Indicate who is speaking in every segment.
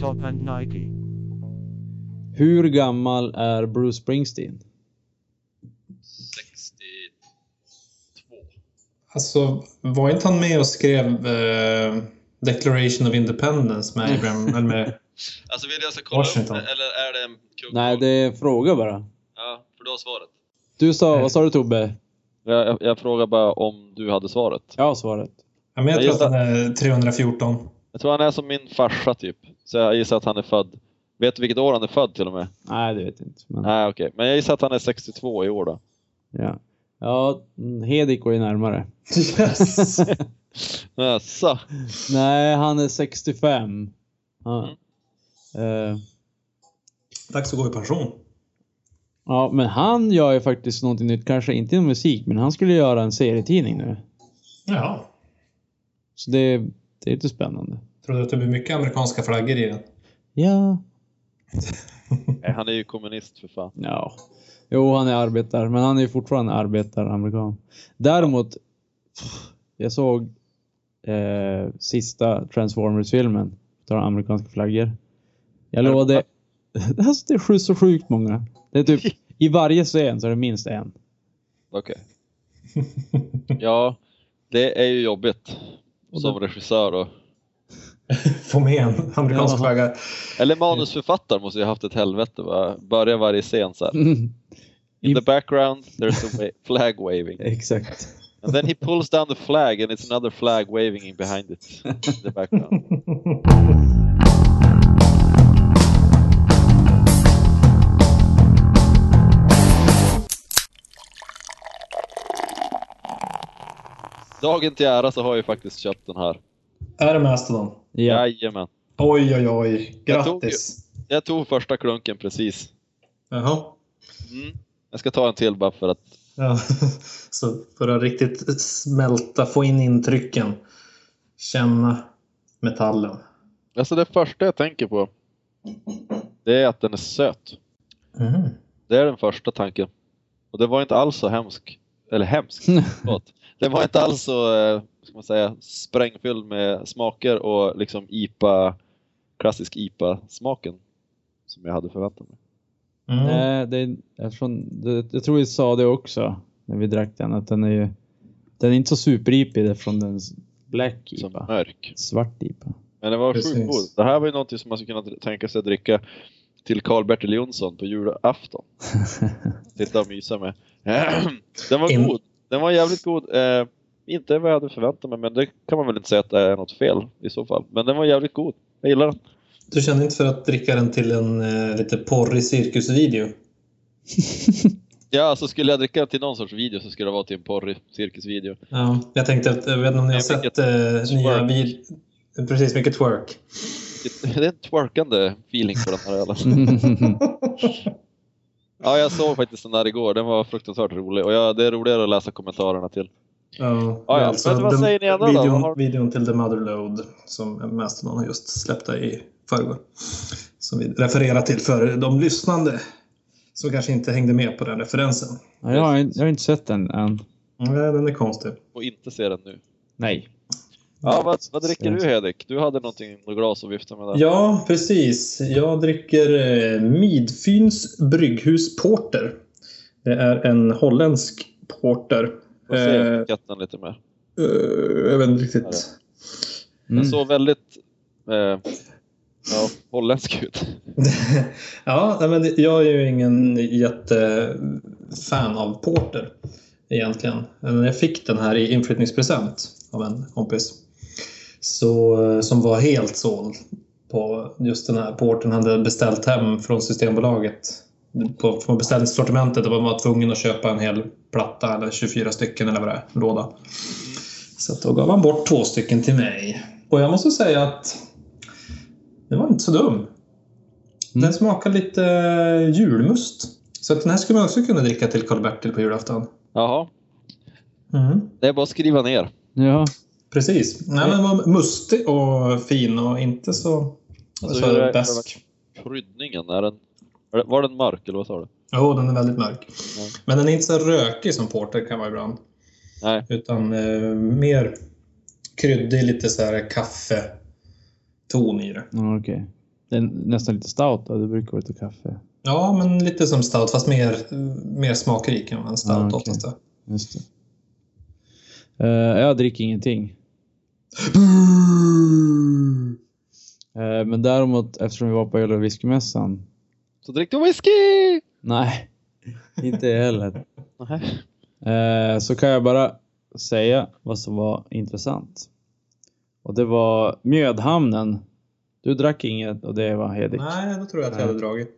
Speaker 1: Top and Nike.
Speaker 2: Hur gammal är Bruce Springsteen?
Speaker 3: 62.
Speaker 4: Alltså, var inte han med och skrev eh, Declaration of Independence med Abraham? eller med,
Speaker 3: Alltså vill jag ska kolla
Speaker 4: Washington.
Speaker 3: upp det, eller är det en kung?
Speaker 2: Nej, det är en fråga bara.
Speaker 3: Ja, för du har svaret.
Speaker 2: Du sa, vad sa du Tobbe?
Speaker 5: Jag, jag, jag frågar bara om du hade svaret.
Speaker 2: Jag har svaret.
Speaker 4: ja, men jag
Speaker 5: Jag
Speaker 4: tror att han är 314.
Speaker 5: Jag tror han är som min farsa typ. Så jag gissar att han är född. Vet du vilket år han är född till och med?
Speaker 2: Nej, det vet jag inte. Men,
Speaker 5: Nej okej, men jag gissar att han är 62 i år då.
Speaker 2: ja. ja, mm, Hedik går ju närmare.
Speaker 4: Yes.
Speaker 5: Jaså?
Speaker 2: Nej, han är 65. Ja. Eh,
Speaker 4: Dags att gå i pension.
Speaker 2: ja, men han gör ju faktiskt någonting nytt. Kanske inte inom musik, men han skulle göra en serietidning nu.
Speaker 4: Ja.
Speaker 2: Så det, det är lite spännande.
Speaker 4: Tror du att det blir mycket amerikanska flaggor i den?
Speaker 2: Ja.
Speaker 5: Nej, han är ju kommunist för fan.
Speaker 2: Ja. Jo, han är arbetare, men han är ju fortfarande arbetaramerikan. Däremot, pff, jag såg eh, sista Transformers-filmen. Där har amerikanska flaggor. Jag
Speaker 5: det-
Speaker 2: lovade... Alltså, det är sju- så sjukt många. Det är typ, I varje scen så är det minst en.
Speaker 5: Okej. Ja, det är ju jobbigt. Som regissör och...
Speaker 4: Få med en amerikansk
Speaker 2: Ja.
Speaker 4: flagga.
Speaker 5: Eller manusförfattare måste ju ha haft ett helvete. Va? Börja varje scen så här. In the background there's a wa- flag waving.
Speaker 2: Exakt.
Speaker 5: And then he pulls down the flag and it's another flag waving in behind it. In the background. Dagen till ära så har jag ju faktiskt köpt den här.
Speaker 4: Är det Mastodon?
Speaker 2: Ja.
Speaker 5: Jajamän.
Speaker 4: Oj, oj, oj.
Speaker 5: Jag tog
Speaker 4: Grattis.
Speaker 5: Jag tog första klunken precis.
Speaker 4: Jaha.
Speaker 5: Mm. Jag ska ta en till bara för att...
Speaker 4: Ja. Så för att riktigt smälta, få in intrycken. Känna metallen.
Speaker 5: Alltså det första jag tänker på. Det är att den är söt.
Speaker 4: Mm.
Speaker 5: Det är den första tanken. Och det var inte alls så hemsk. Eller hemsk, förlåt. Det var inte alls så, eh, ska man säga, sprängfylld med smaker och liksom IPA, klassisk IPA-smaken. Som jag hade förväntat mig.
Speaker 4: Mm.
Speaker 2: Nej, Eh, det, är- eftersom, det, jag tror vi sa det också när vi drack den, att den är ju... Den är inte så superipig eftersom den är black
Speaker 5: Som
Speaker 2: IPA.
Speaker 5: mörk.
Speaker 2: Svart IPA.
Speaker 5: Men det var
Speaker 4: Precis.
Speaker 5: sjukt god. Det här var ju någonting som man skulle kunna tänka sig att dricka till Karl-Bertil Jonsson på julafton. Sitta och mysa med. Den var
Speaker 4: In-
Speaker 5: god. Den var jävligt god. Eh, inte vad jag hade förväntat mig, men det kan man väl inte säga att det är något fel i så fall. Men den var jävligt god. Jag gillar den.
Speaker 4: Du kände inte för att dricka den till en eh, lite porrig cirkusvideo?
Speaker 5: Ja, alltså skulle jag dricka till någon sorts video så skulle det vara till en porrig cirkusvideo.
Speaker 4: Ja, jag tänkte att, jag vet inte om ni har
Speaker 5: Nej,
Speaker 4: sett
Speaker 5: vilket
Speaker 4: eh, nya
Speaker 5: twerk.
Speaker 4: vid... Precis, mycket twerk.
Speaker 5: Det är en twerkande feeling på den här ölen. Ja, jag såg faktiskt den där igår. Den var fruktansvärt rolig och jag, det är roligare att läsa kommentarerna till.
Speaker 4: Ja, alltså,
Speaker 5: ja. Men vad
Speaker 4: den-
Speaker 5: säger ni andra då?
Speaker 4: videon,
Speaker 5: Vad har-
Speaker 4: videon till The Motherload som Mastodon har just släppte i förrgår. Som vi refererar till för de lyssnande som kanske inte hängde med på den referensen.
Speaker 2: Ja, jag, har, inte- jag har inte sett den än.
Speaker 4: Nej, den är konstig.
Speaker 5: Och inte se den nu.
Speaker 2: Nej.
Speaker 5: Ja, vad, vad dricker du Hedik? Du hade någonting, något glas att vifta med där.
Speaker 4: Ja, precis. Jag dricker eh, Midfyns brygghus porter. Det är en holländsk porter.
Speaker 5: Får
Speaker 4: Eh,
Speaker 5: se katten lite mer.
Speaker 4: eh, jag vet inte riktigt.
Speaker 2: Mm.
Speaker 5: Den såg väldigt eh, ja, holländsk ut.
Speaker 4: ja, nej, men jag är ju ingen jättefan av porter egentligen. Men jag fick den här i inflyttningspresent av en kompis. Så, eh, som var helt såld på just den här porten han hade beställt hem från Systembolaget. På, från beställningssortimentet där man var tvungen att köpa en hel platta eller 24 stycken eller vad det är, låda. Så att då gav han bort två stycken till mig. Och jag måste säga att det var inte så dum.
Speaker 2: Mm.
Speaker 4: Den smakar lite eh, julmust. Så att den här skulle man också kunna dricka till Karl-Bertil på julafton.
Speaker 5: Jaha,
Speaker 2: Mm.
Speaker 5: det är bara att skriva ner.
Speaker 2: Ja.
Speaker 4: Precis. Nej, men den var mustig och fin och inte så,
Speaker 5: Alltså, hur är
Speaker 4: så
Speaker 5: det-
Speaker 4: besk.
Speaker 5: Kryddningen, är den, är det- var den mörk eller vad sa du?
Speaker 4: Jo, den är väldigt mörk.
Speaker 5: Mm.
Speaker 4: Men den är inte så rökig som porter kan vara ibland.
Speaker 5: Nej.
Speaker 4: Utan eh, mer kryddig, lite så här kaffeton i det.
Speaker 2: Ja, Okej. Det är nästan lite stout då. Det brukar vara lite kaffe.
Speaker 4: Ja, men lite som stout fast mer, mer smakrik än vad en stout
Speaker 2: Ah, okej.
Speaker 4: oftast är.
Speaker 2: Just det. Eh, jag dricker ingenting. Eh, men däremot eftersom vi var på öl och whiskymässan.
Speaker 5: Så drick du whisky!
Speaker 2: Nej, inte jag heller.
Speaker 5: Nähä.
Speaker 2: Eh, så kan jag bara säga vad som var intressant. Och det var Mjödhamnen. Du drack inget och det var Hedik.
Speaker 4: Nej, då tror jag att
Speaker 2: Nej.
Speaker 4: jag hade dragit.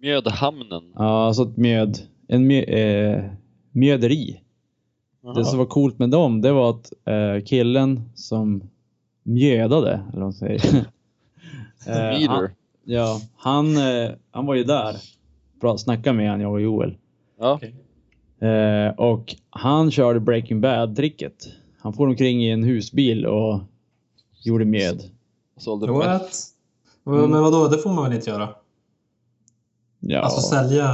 Speaker 5: Mjödhamnen.
Speaker 2: Ja, så ett mjöd, en mjö, eh, mjöderi. Det som var coolt med dem, det var att eh, killen som mjödade, eller vad man säger. eh, han,
Speaker 5: Meter.
Speaker 2: ja, han, eh, han var ju där. Bra, snacka med han, jag och Joel.
Speaker 5: Ja.
Speaker 2: Eh, och han körde Breaking Bad-tricket. Han for omkring i en husbil och gjorde med.
Speaker 5: Sålde mest.
Speaker 4: What? Men vadå, det får man väl inte göra?
Speaker 2: Ja.
Speaker 4: Alltså sälja...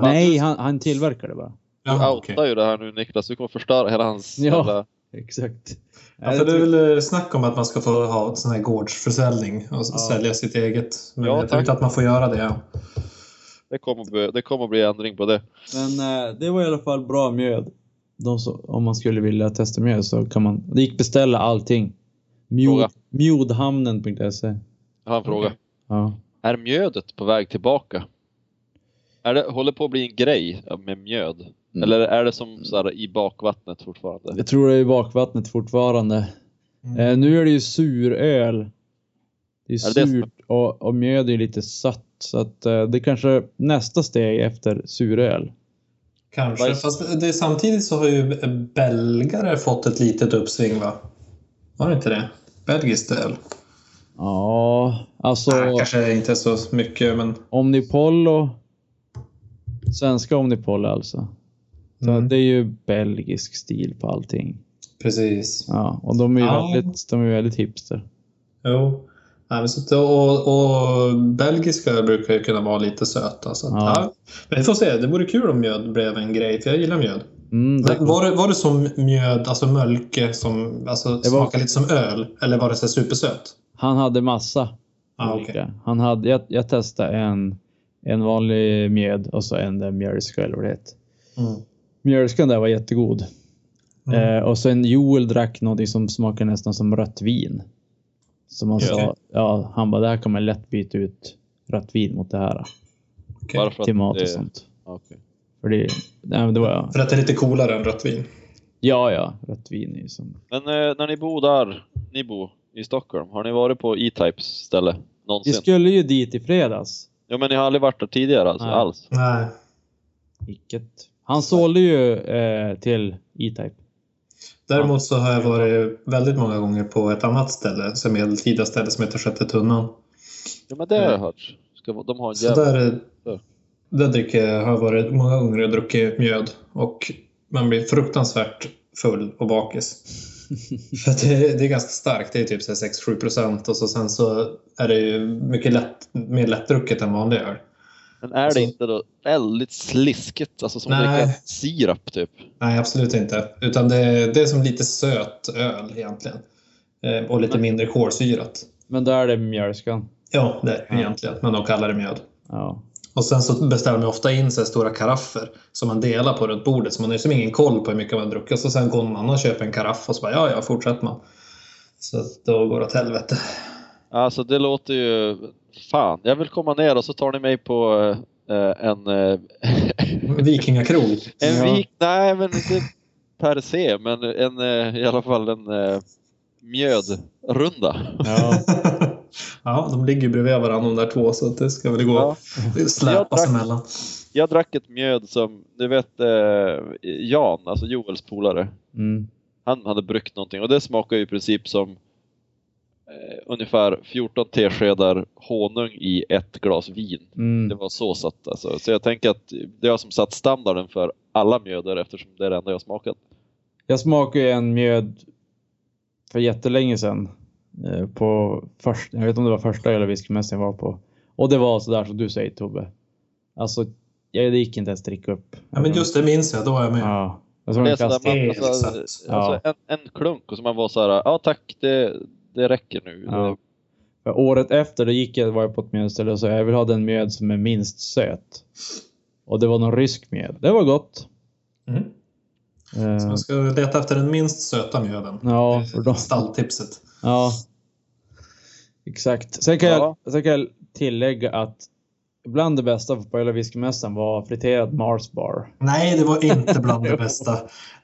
Speaker 2: Nej, han, han tillverkade bara.
Speaker 5: Du
Speaker 4: Ja, okej.
Speaker 5: outar ju det här nu Niklas, du kommer förstöra hela hans
Speaker 2: Ja.
Speaker 5: jävla...
Speaker 2: Exakt.
Speaker 4: Ja, för det är väl eh, snack om att man ska få ha ett sån här gårdsförsäljning och s-
Speaker 2: Ja.
Speaker 4: sälja sitt eget. Men
Speaker 5: Ja,
Speaker 4: jag tror
Speaker 5: tack.
Speaker 4: inte att man får göra det. än.
Speaker 5: Det kommer, bli, det kommer bli ändring på det.
Speaker 2: Men eh, det var i alla fall bra mjöd. De som- om man skulle vilja testa mjöd så kan man... Det gick beställa allting.
Speaker 5: Fråga.
Speaker 2: Mjod, mjodhamnen.se.
Speaker 5: Jag har en fråga.
Speaker 2: E. Ja.
Speaker 5: Är mjödet på väg tillbaka? Är det, håller på att bli en grej med mjöd?
Speaker 4: Mm.
Speaker 5: Eller är det som så här, i bakvattnet fortfarande?
Speaker 2: Jag tror det är i bakvattnet fortfarande.
Speaker 4: Mm.
Speaker 2: Eh, nu är det ju suröl. Det är
Speaker 5: Ja, det är
Speaker 2: surt och, och mjöd är ju lite sött. Så att, eh, det kanske är nästa steg efter suröl.
Speaker 4: Kanske.
Speaker 5: Bajs.
Speaker 4: Fast det- det, samtidigt så har ju belgare fått ett litet uppsving va? Har det inte det? Belgiskt öl?
Speaker 2: Ja, alltså
Speaker 4: Nej, Ah, kanske inte så mycket men...
Speaker 2: Omnipollo. Svenska Omnipollo alltså. Så
Speaker 4: Mm.
Speaker 2: Det är ju belgisk stil på allting.
Speaker 4: Precis.
Speaker 2: Ja, och de är ju
Speaker 4: Ja.
Speaker 2: väldigt, de är väldigt hipster.
Speaker 4: Jo. Nej, men så, att- och, och belgiska öl brukar ju kunna vara lite söta. Så att,
Speaker 2: Ja.
Speaker 4: ja. Men vi får se, det vore kul om mjöd blev en grej, för jag gillar mjöd.
Speaker 2: Mm, det,
Speaker 4: Men var, det, var det som mjöd, alltså mölke, som alltså,
Speaker 2: Det var-
Speaker 4: smakade lite som öl? Eller var det så här supersöt?
Speaker 2: han hade massa
Speaker 4: Ah,
Speaker 2: olika.
Speaker 4: okej.
Speaker 2: Han hade, jag, jag testade en, en vanlig mjöd och så en där mjölska eller vad det heter.
Speaker 4: Mm.
Speaker 2: Mjölskan där var jättegod.
Speaker 4: Mm.
Speaker 2: Eh, och sen Joel drack någonting som smakar nästan som rött vin. Som han
Speaker 4: Okej.
Speaker 2: sa, ja, han bara, det här kan man lätt byta ut rött vin mot det här.
Speaker 4: Okej.
Speaker 5: Bara för
Speaker 2: Till mat
Speaker 5: det-
Speaker 2: och sånt.
Speaker 5: ja, okej.
Speaker 2: För det, nej, men det var,
Speaker 4: För att det är lite coolare än rött vin.
Speaker 2: ja, ja, rött vin är ju som...
Speaker 5: Men eh, när ni bor där, ni bor i Stockholm, har ni varit på E-Types ställe
Speaker 2: Vi
Speaker 5: någonsin?
Speaker 2: skulle ju dit i fredags.
Speaker 5: Ja men ni har aldrig varit där tidigare alltså,
Speaker 2: Nej.
Speaker 5: alls?
Speaker 4: Nej.
Speaker 2: Vilket. Han sålde ju eh, till E-Type.
Speaker 4: Däremot så har jag varit väldigt många gånger på ett annat ställe, som medeltida ställe som heter Sjätte tunnan.
Speaker 5: Ja men det har jag
Speaker 4: Nej.
Speaker 5: hört. Ska, de har en
Speaker 4: Så
Speaker 5: jävla...
Speaker 4: där,
Speaker 5: Ja.
Speaker 4: där dricker, jag- har jag varit många gånger och druckit mjöd och man blir fruktansvärt full och bakis. För att det, det är ganska starkt, det är typ så här 6-7 procent och så sen så är det ju mycket lätt, mer lättdrucket än vanlig öl.
Speaker 5: Men är
Speaker 4: Alltså-
Speaker 5: det inte då väldigt sliskigt? Alltså som
Speaker 4: Nej.
Speaker 5: dricka sirap typ?
Speaker 4: Nej, absolut inte. Utan det, det är som lite söt öl egentligen. Eh, och lite mindre kolsyrat.
Speaker 2: Men där är det mjölskan.
Speaker 4: Ja, det är det
Speaker 2: Ja.
Speaker 4: egentligen, men de kallar det mjöd.
Speaker 2: Ja.
Speaker 4: Och sen så beställer man ofta in så här stora karaffer som man delar på runt bordet så man har ju som ingen koll på hur mycket man har druckit. Och så sen går någon annan och köper en karaff och så bara ja, ja, fortsätter man. Så att då går det åt helvete.
Speaker 5: Alltså det låter ju... Fan, jag vill komma ner och så tar ni mig på eh, en... eh,
Speaker 4: Vikingakrog.
Speaker 5: en
Speaker 2: Ja.
Speaker 5: vik... Nej men inte per se, men en, eh, i alla fall en eh, mjödrunda.
Speaker 2: ja.
Speaker 4: ja, de ligger ju bredvid varandra de där två så att det ska väl gå
Speaker 5: Ja.
Speaker 4: att släpas
Speaker 5: drack-
Speaker 4: emellan.
Speaker 5: Jag drack ett mjöd som, du vet eh, Jan, alltså Joels polare.
Speaker 2: Mm.
Speaker 5: Han hade bryggt någonting och det smakar ju i princip som eh, ungefär 14 teskedar honung i ett glas vin. Det
Speaker 2: Mm.
Speaker 5: var så satt alltså. Så jag tänker att det är jag som satt standarden för alla mjöder eftersom det är det enda jag smakat.
Speaker 2: Jag smakade ju en mjöd för jättelänge sedan. Eh, på först, jag vet inte om det var första eller whiskymässan jag var på. Och det var sådär som du säger Tobbe. Alltså, jag, det gick inte ens att dricka upp.
Speaker 4: Ja, men just det minns jag, då var jag med.
Speaker 2: Ja. Jag tror
Speaker 5: Det är
Speaker 2: de
Speaker 5: sådär
Speaker 2: kastade.
Speaker 5: man,
Speaker 4: Helt
Speaker 5: alltså,
Speaker 4: sant.
Speaker 5: alltså,
Speaker 2: Ja.
Speaker 5: en, en klunk och så man var så här, ja tack det, det räcker nu.
Speaker 2: Ja. För året efter då gick jag, var jag på ett mjödställe och sa jag vill ha den mjöd som är minst söt. Och det var någon rysk mjöd. Det var gott.
Speaker 4: Mm.
Speaker 2: Eh,
Speaker 4: Så man ska leta efter den minst söta mjöden.
Speaker 2: ja, för de,
Speaker 4: Stalltipset.
Speaker 2: ja, exakt. Sen kan,
Speaker 5: Ja.
Speaker 2: jag, sen kan jag tillägga att bland det bästa på Pajala whiskymässan var friterad Mars bar.
Speaker 4: Nej, det var inte bland det bästa.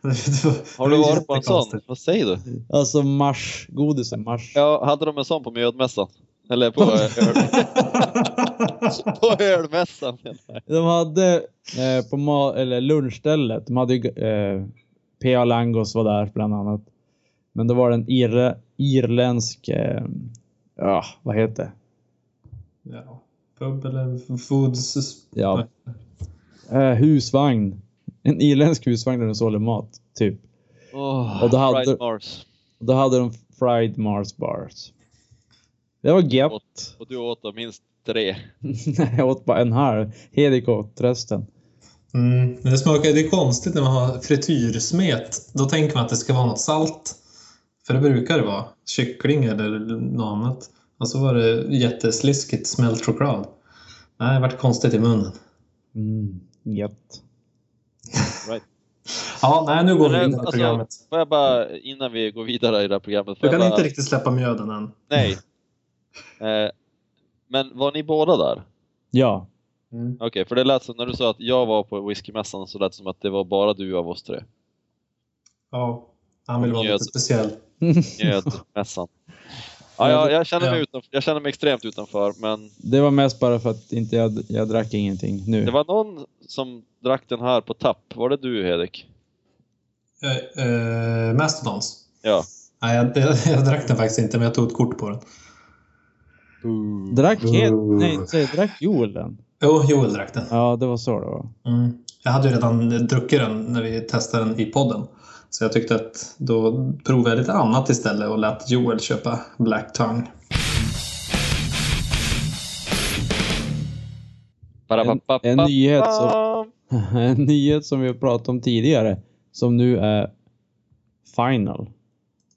Speaker 4: Det var-
Speaker 5: Har
Speaker 4: det
Speaker 5: du
Speaker 4: var
Speaker 5: varit på en sån?
Speaker 4: jättekonstigt.
Speaker 5: Vad säger du?
Speaker 2: Alltså mars, godisen mars.
Speaker 5: Ja, hade de en sån på mjödmässan? Eller på, eh, öl, på ölmässan?
Speaker 2: De hade eh, på ma- eller lunchstället, de hade ju, eh, P.A. Langos var där bland annat. Men då var det en irre, irländsk, eh, ja vad heter det?
Speaker 4: Ja. Pub eller foods.
Speaker 2: Ja. Eh, husvagn. En irländsk husvagn där de sålde mat, typ.
Speaker 5: Oh,
Speaker 2: Och då hade-
Speaker 5: Fried Mars.
Speaker 2: Och då hade de fried Mars bars. Det var gött.
Speaker 5: Och du åt då minst tre.
Speaker 2: Nej, jag åt bara en halv. Hedik åt resten.
Speaker 4: Mm. Men det smakar, det är konstigt när man har frityrsmet. Då tänker man att det ska vara något salt. För det brukar det vara. Kyckling eller något annat. Och så var det jättesliskigt smält choklad. Nej, det vart konstigt i munnen.
Speaker 2: Mm, gött.
Speaker 4: Ja, nej, nu går vi
Speaker 5: Men,
Speaker 4: in i
Speaker 5: alltså,
Speaker 4: programmet.
Speaker 5: Får jag bara, innan vi går vidare i det här programmet.
Speaker 4: Du
Speaker 5: Får jag
Speaker 4: kan
Speaker 5: bara,
Speaker 4: inte riktigt släppa mjöden än.
Speaker 5: Nej. Eh, men var ni båda där?
Speaker 2: Ja.
Speaker 5: Okej, för det lät som när du sa att jag var på whiskymässan så lät det som att det var bara du av oss tre.
Speaker 4: Ja, han vill vara lite
Speaker 5: Mjöd.
Speaker 4: speciell.
Speaker 5: Mjödmässan. Ja, jag, jag, känner mig utanför, jag känner mig extremt utanför, men
Speaker 2: Det var mest bara för att inte jag, jag drack ingenting nu.
Speaker 5: det var någon som drack den här på tapp. Var det du, Hedik?
Speaker 4: Eh, eh, Mastodons.
Speaker 5: Ja.
Speaker 4: Nej, jag, jag, jag drack den faktiskt inte, men jag tog ett kort på den.
Speaker 2: Drack helt...
Speaker 4: Ooh.
Speaker 2: Nej, inte säg, drack Joel den?
Speaker 4: Jo, Joel drack den.
Speaker 2: Ja, det var så det var.
Speaker 4: Mm. Jag hade ju redan druckit den när vi testade den i podden. Så jag tyckte att då provade jag lite annat istället och lät Joel köpa Black Tongue.
Speaker 2: En- en nyhet som- En nyhet som vi har pratat om tidigare, som nu är final.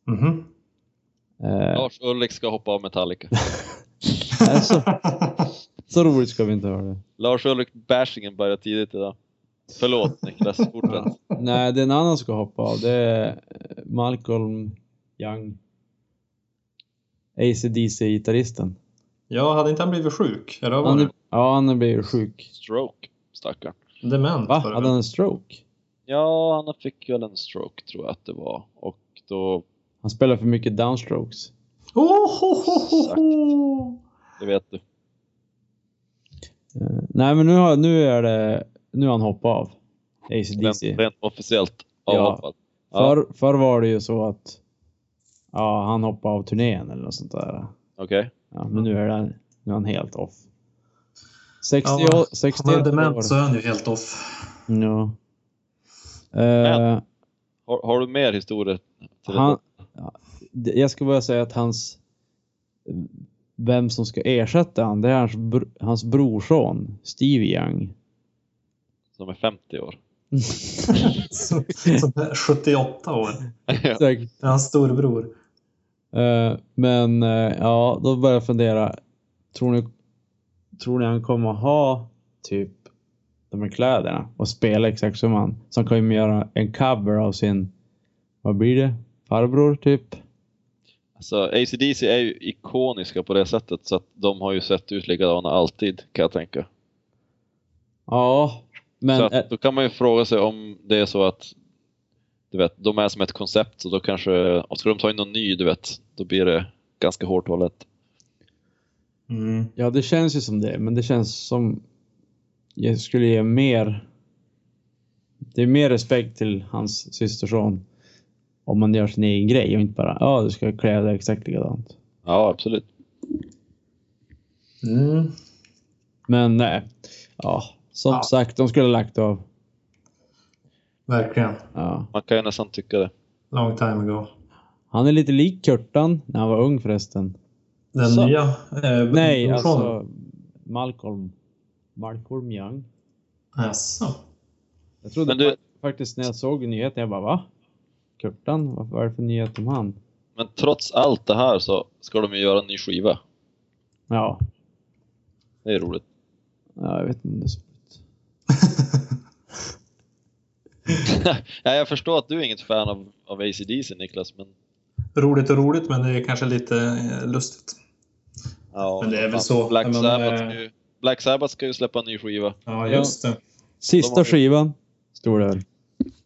Speaker 4: Mhm.
Speaker 2: Eh,
Speaker 5: Lars Ulrik ska hoppa av Metallica.
Speaker 2: så, så roligt ska vi inte ha det.
Speaker 5: Lars Ulrik bashingen börjar tidigt idag. Förlåt Niklas, fortsätt.
Speaker 2: Nej, det är en annan som ska hoppa av. Det är eh, Malcolm Young. ACDC-gitarristen.
Speaker 4: Ja, hade inte han blivit sjuk? Eller vad var
Speaker 2: Han,
Speaker 4: det?
Speaker 2: är- ja, han blev ju sjuk.
Speaker 5: Stroke, stackarn.
Speaker 4: Dement
Speaker 2: Va?
Speaker 4: var det
Speaker 2: Hade
Speaker 4: väl?
Speaker 2: han en stroke?
Speaker 5: Ja, han fick väl en stroke tror jag att det var. Och då,
Speaker 2: Han spelar för mycket downstrokes.
Speaker 4: Oh, ho, ho, ho, ho.
Speaker 5: det vet du.
Speaker 2: Eh, nej, men nu, har, nu är det... Nu har han hoppat av.
Speaker 5: Rent,
Speaker 2: ACDC.
Speaker 5: rent officiellt
Speaker 2: Ja.
Speaker 5: avhoppad. Ja.
Speaker 2: Förr, förr var det ju så att ja, han hoppade av turnén eller något sånt där.
Speaker 5: Okej.
Speaker 2: Ja, men nu är, han, nu är han helt off. 60,
Speaker 4: Ja,
Speaker 2: 61
Speaker 4: Om han är
Speaker 2: år.
Speaker 4: dement så är han ju helt off.
Speaker 2: Ja. Eh,
Speaker 5: Har, har du mer historier? Till
Speaker 2: han, ja, det- jag ska bara säga att hans vem som ska ersätta han, det är hans, br- hans brorson Steve Young.
Speaker 5: det? Som är 50 år.
Speaker 4: Som som är 78 år.
Speaker 5: ja.
Speaker 2: Säkert.
Speaker 4: Det är hans storbror.
Speaker 2: Eh, men eh, ja, då började jag fundera. Tror ni, tror ni han kommer ha typ de här kläderna och spela exakt som han? Så han kommer göra en cover av sin, vad blir det? Farbror typ?
Speaker 5: Alltså, ACDC är ju ikoniska på det sättet så att de har ju sett ut likadana alltid kan jag tänka.
Speaker 2: Ja, men
Speaker 5: så
Speaker 2: eh,
Speaker 5: att, då kan man ju fråga sig om det är så att du vet, de är som ett koncept så då kanske, och ska de ta in någon ny du vet, då blir det ganska hårt hållet.
Speaker 4: Mm.
Speaker 2: ja, det känns ju som det. Men det känns som jag skulle ge mer. Det är mer respekt till hans systerson om man gör sin egen grej och inte bara ja, du ska klä dig exakt likadant.
Speaker 5: Ja, absolut.
Speaker 4: Mm.
Speaker 2: Men nej. Ja, som
Speaker 4: Ja.
Speaker 2: sagt, de skulle ha lagt av.
Speaker 4: Verkligen.
Speaker 2: Ja.
Speaker 5: Man kan ju nästan tycka det.
Speaker 4: Long time ago.
Speaker 2: Han är lite lik Kurtan när han var ung förresten.
Speaker 4: Den
Speaker 2: Så.
Speaker 4: nya? Eh,
Speaker 2: Nej,
Speaker 4: brorsonen.
Speaker 2: alltså Malcolm. Malcolm Young.
Speaker 4: Jaså.
Speaker 2: Jag trodde
Speaker 5: Men du-
Speaker 2: fa- faktiskt när jag såg nyheten, jag bara va? Kurtan? Vad vad är det för nyhet om han?
Speaker 5: Men trots allt det här så ska de ju göra en ny skiva.
Speaker 2: Ja,
Speaker 5: Det är roligt.
Speaker 2: ja jag vet inte.
Speaker 5: Nej, jag förstår att du är inget fan av, av ACDC Niklas, men...
Speaker 4: Roligt och roligt, men det är kanske lite eh, lustigt.
Speaker 5: Ja,
Speaker 4: Men det är väl
Speaker 5: fan.
Speaker 4: så.
Speaker 5: Black,
Speaker 4: Men,
Speaker 5: Sabbath
Speaker 4: eh,
Speaker 5: ska ju, Black Sabbath ska ju släppa en ny skiva.
Speaker 4: Ja,
Speaker 2: Ja.
Speaker 4: just det.
Speaker 5: De har
Speaker 2: Sista
Speaker 5: ju-
Speaker 2: skivan, står det väl.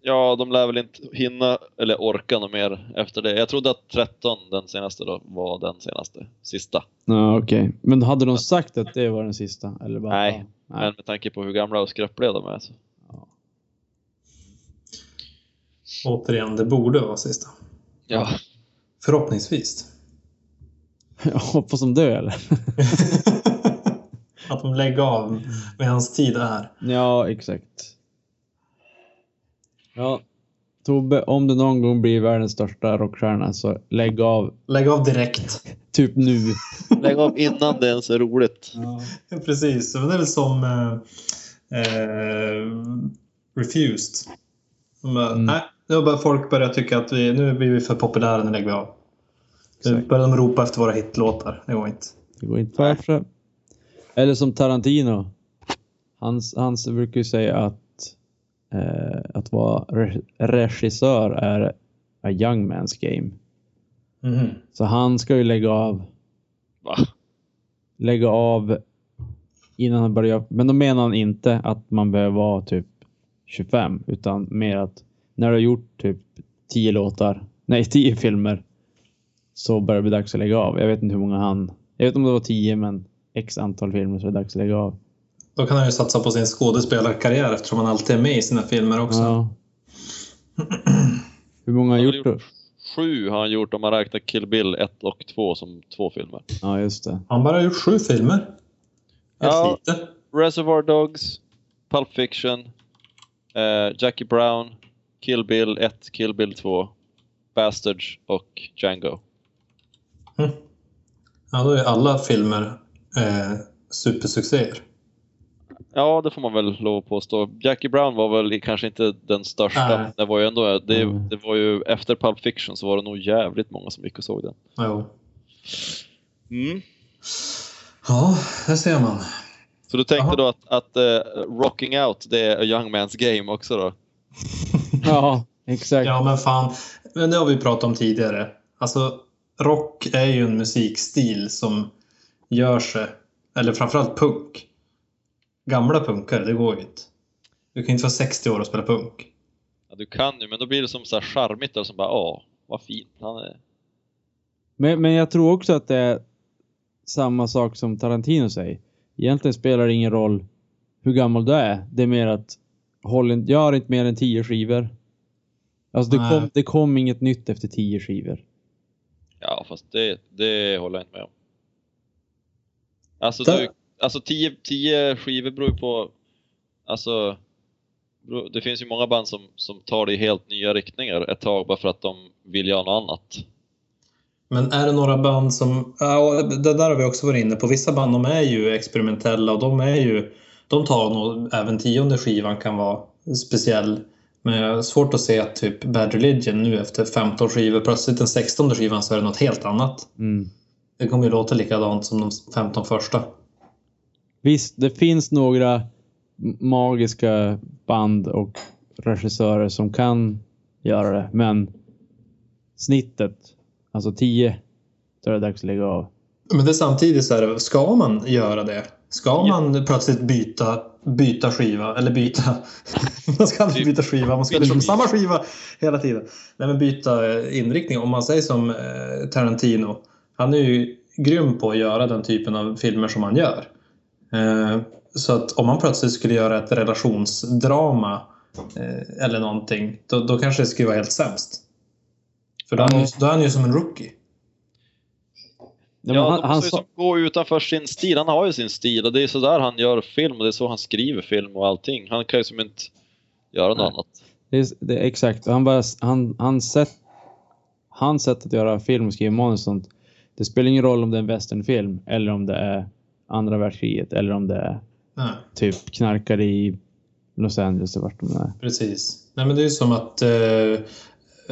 Speaker 5: Ja, de lär väl inte hinna eller orka något mer efter det. Jag trodde att 13, den senaste då, var den senaste. Sista.
Speaker 2: Ja, okej. Men hade de sagt att det var den sista? Eller bara,
Speaker 5: Nej.
Speaker 2: Nej.
Speaker 5: Men med tanke på hur gamla och skröpliga de är så...
Speaker 4: Återigen, det borde vara sista.
Speaker 5: Ja.
Speaker 4: Förhoppningsvis.
Speaker 2: Jag hoppas de dör eller?
Speaker 4: att de lägger av medan tid är.
Speaker 2: Ja, exakt. Ja, Tobbe, om du någon gång blir världens största rockstjärna så lägg av
Speaker 4: Lägg av direkt.
Speaker 2: typ nu.
Speaker 5: Lägg av innan det ens är roligt.
Speaker 4: Precis, men det är väl som eh, eh, Refused. Men,
Speaker 2: Mm.
Speaker 4: Nej, det var bara folk börjar tycka att vi, nu blir vi för populära, nu lägger vi av. Nu börjar de ropa efter våra hitlåtar, det går inte.
Speaker 2: Det går inte för sig. Eller som Tarantino. Hans, hans brukar ju säga att eh, att vara re- regissör är a young man's game.
Speaker 4: Mhm.
Speaker 2: Så han ska ju lägga av
Speaker 5: Va?
Speaker 2: lägga av innan han börjar. Men då menar han inte att man behöver vara typ 25 utan mer att när du har gjort typ 10 låtar, nej 10 filmer så börjar det bli dags att lägga av. Jag vet inte hur många han, jag vet inte om det var 10 men x antal filmer så är det dags att lägga av.
Speaker 4: Då kan han ju satsa på sin skådespelarkarriär eftersom han alltid är med i sina filmer också.
Speaker 2: Ja. Hur många har
Speaker 5: Han har
Speaker 2: gjort
Speaker 5: gjort-
Speaker 2: då?
Speaker 5: Sju har han gjort om man räknar Kill Bill 1 och 2 som två filmer.
Speaker 2: Ja, just det.
Speaker 4: Han bara har gjort sju filmer. Helt
Speaker 5: Ja.
Speaker 4: lite.
Speaker 5: Reservoir Dogs, Pulp Fiction, eh, Jackie Brown, Kill Bill 1, Kill Bill 2, Bastards och Django.
Speaker 4: Ja, då är alla filmer eh, supersuccéer.
Speaker 5: Ja, det får man väl lov att påstå. Jackie Brown var väl i- kanske inte den största,
Speaker 4: Nej.
Speaker 5: men det var ju ändå, det,
Speaker 2: Mm.
Speaker 5: det var ju efter Pulp Fiction så var det nog jävligt många som gick och såg den.
Speaker 4: Jo. Ja, det ser man.
Speaker 5: Så du tänkte
Speaker 4: Jaha.
Speaker 5: då att, att eh, Rocking Out, det är a young man's game också då?
Speaker 2: Ja, exakt.
Speaker 4: Ja, men fan. Men det har vi pratat om tidigare. Alltså, rock är ju en musikstil som gör sig, eller framförallt punk. Gamla punkare, det går ju inte. Du kan inte vara 60 år och spela punk.
Speaker 5: Ja, du kan ju, men då blir det som så här charmigt där som bara, ja, vad fint han är.
Speaker 2: Men, men jag tror också att det är samma sak som Tarantino säger. Egentligen spelar det ingen roll hur gammal du är. Det är mer att håll in, gör inte mer än tio skivor. Alltså det
Speaker 4: Nej.
Speaker 2: kom, det kom inget nytt efter tio skivor.
Speaker 5: Ja, fast det, det håller jag inte med om. Alltså,
Speaker 4: Där-
Speaker 5: du, alltså tio, tio skivor beror ju på... Alltså, bero- det finns ju många band som, som tar det i helt nya riktningar ett tag bara för att de vill göra något annat.
Speaker 4: Men är det några band som... Ja, och det där har vi också varit inne på. Vissa band de är ju experimentella och de är ju... De tar nog... Även tionde skivan kan vara speciell. Men jag har svårt att se att typ Bad Religion nu efter 15 skivor, plötsligt den 16 skivan så är det något helt annat.
Speaker 2: Mm.
Speaker 4: Det kommer ju låta likadant som de 15 första.
Speaker 2: Visst, det finns några m- magiska band och regissörer som kan göra det, men snittet, alltså tio, då är det dags att lägga av.
Speaker 4: Men det är samtidigt så här, ska man göra det? Ska man plötsligt byta, byta skiva? Eller byta... man ska aldrig Typ. byta skiva, man ska liksom samma skiva hela tiden. Nej, men byta eh, inriktning. Om man säger som eh, Tarantino. Han är ju grym på att göra den typen av filmer som han gör. Eh, så att om man plötsligt skulle göra ett relationsdrama eh, eller någonting, då, då kanske det skulle vara helt sämst. För då är han ju, då är han ju som en rookie.
Speaker 2: Ja, men
Speaker 5: ja,
Speaker 2: han,
Speaker 5: de
Speaker 2: han
Speaker 5: måste ju
Speaker 2: sa,
Speaker 5: som gå utanför sin stil. Han har ju sin stil och det är så där han gör film och det är så han skriver film och allting. Han kan ju som inte göra något
Speaker 2: Nej.
Speaker 5: annat.
Speaker 2: det är, det är exakt, han bara, han, han sätt, hans sätt att göra film och skriva manus och sånt, det spelar ingen roll om det är en westernfilm eller om det är andra världskriget eller om det är
Speaker 4: Nej.
Speaker 2: typ knarkare i Los Angeles eller vart de är.
Speaker 4: Precis. Nej, men det är ju som att eh,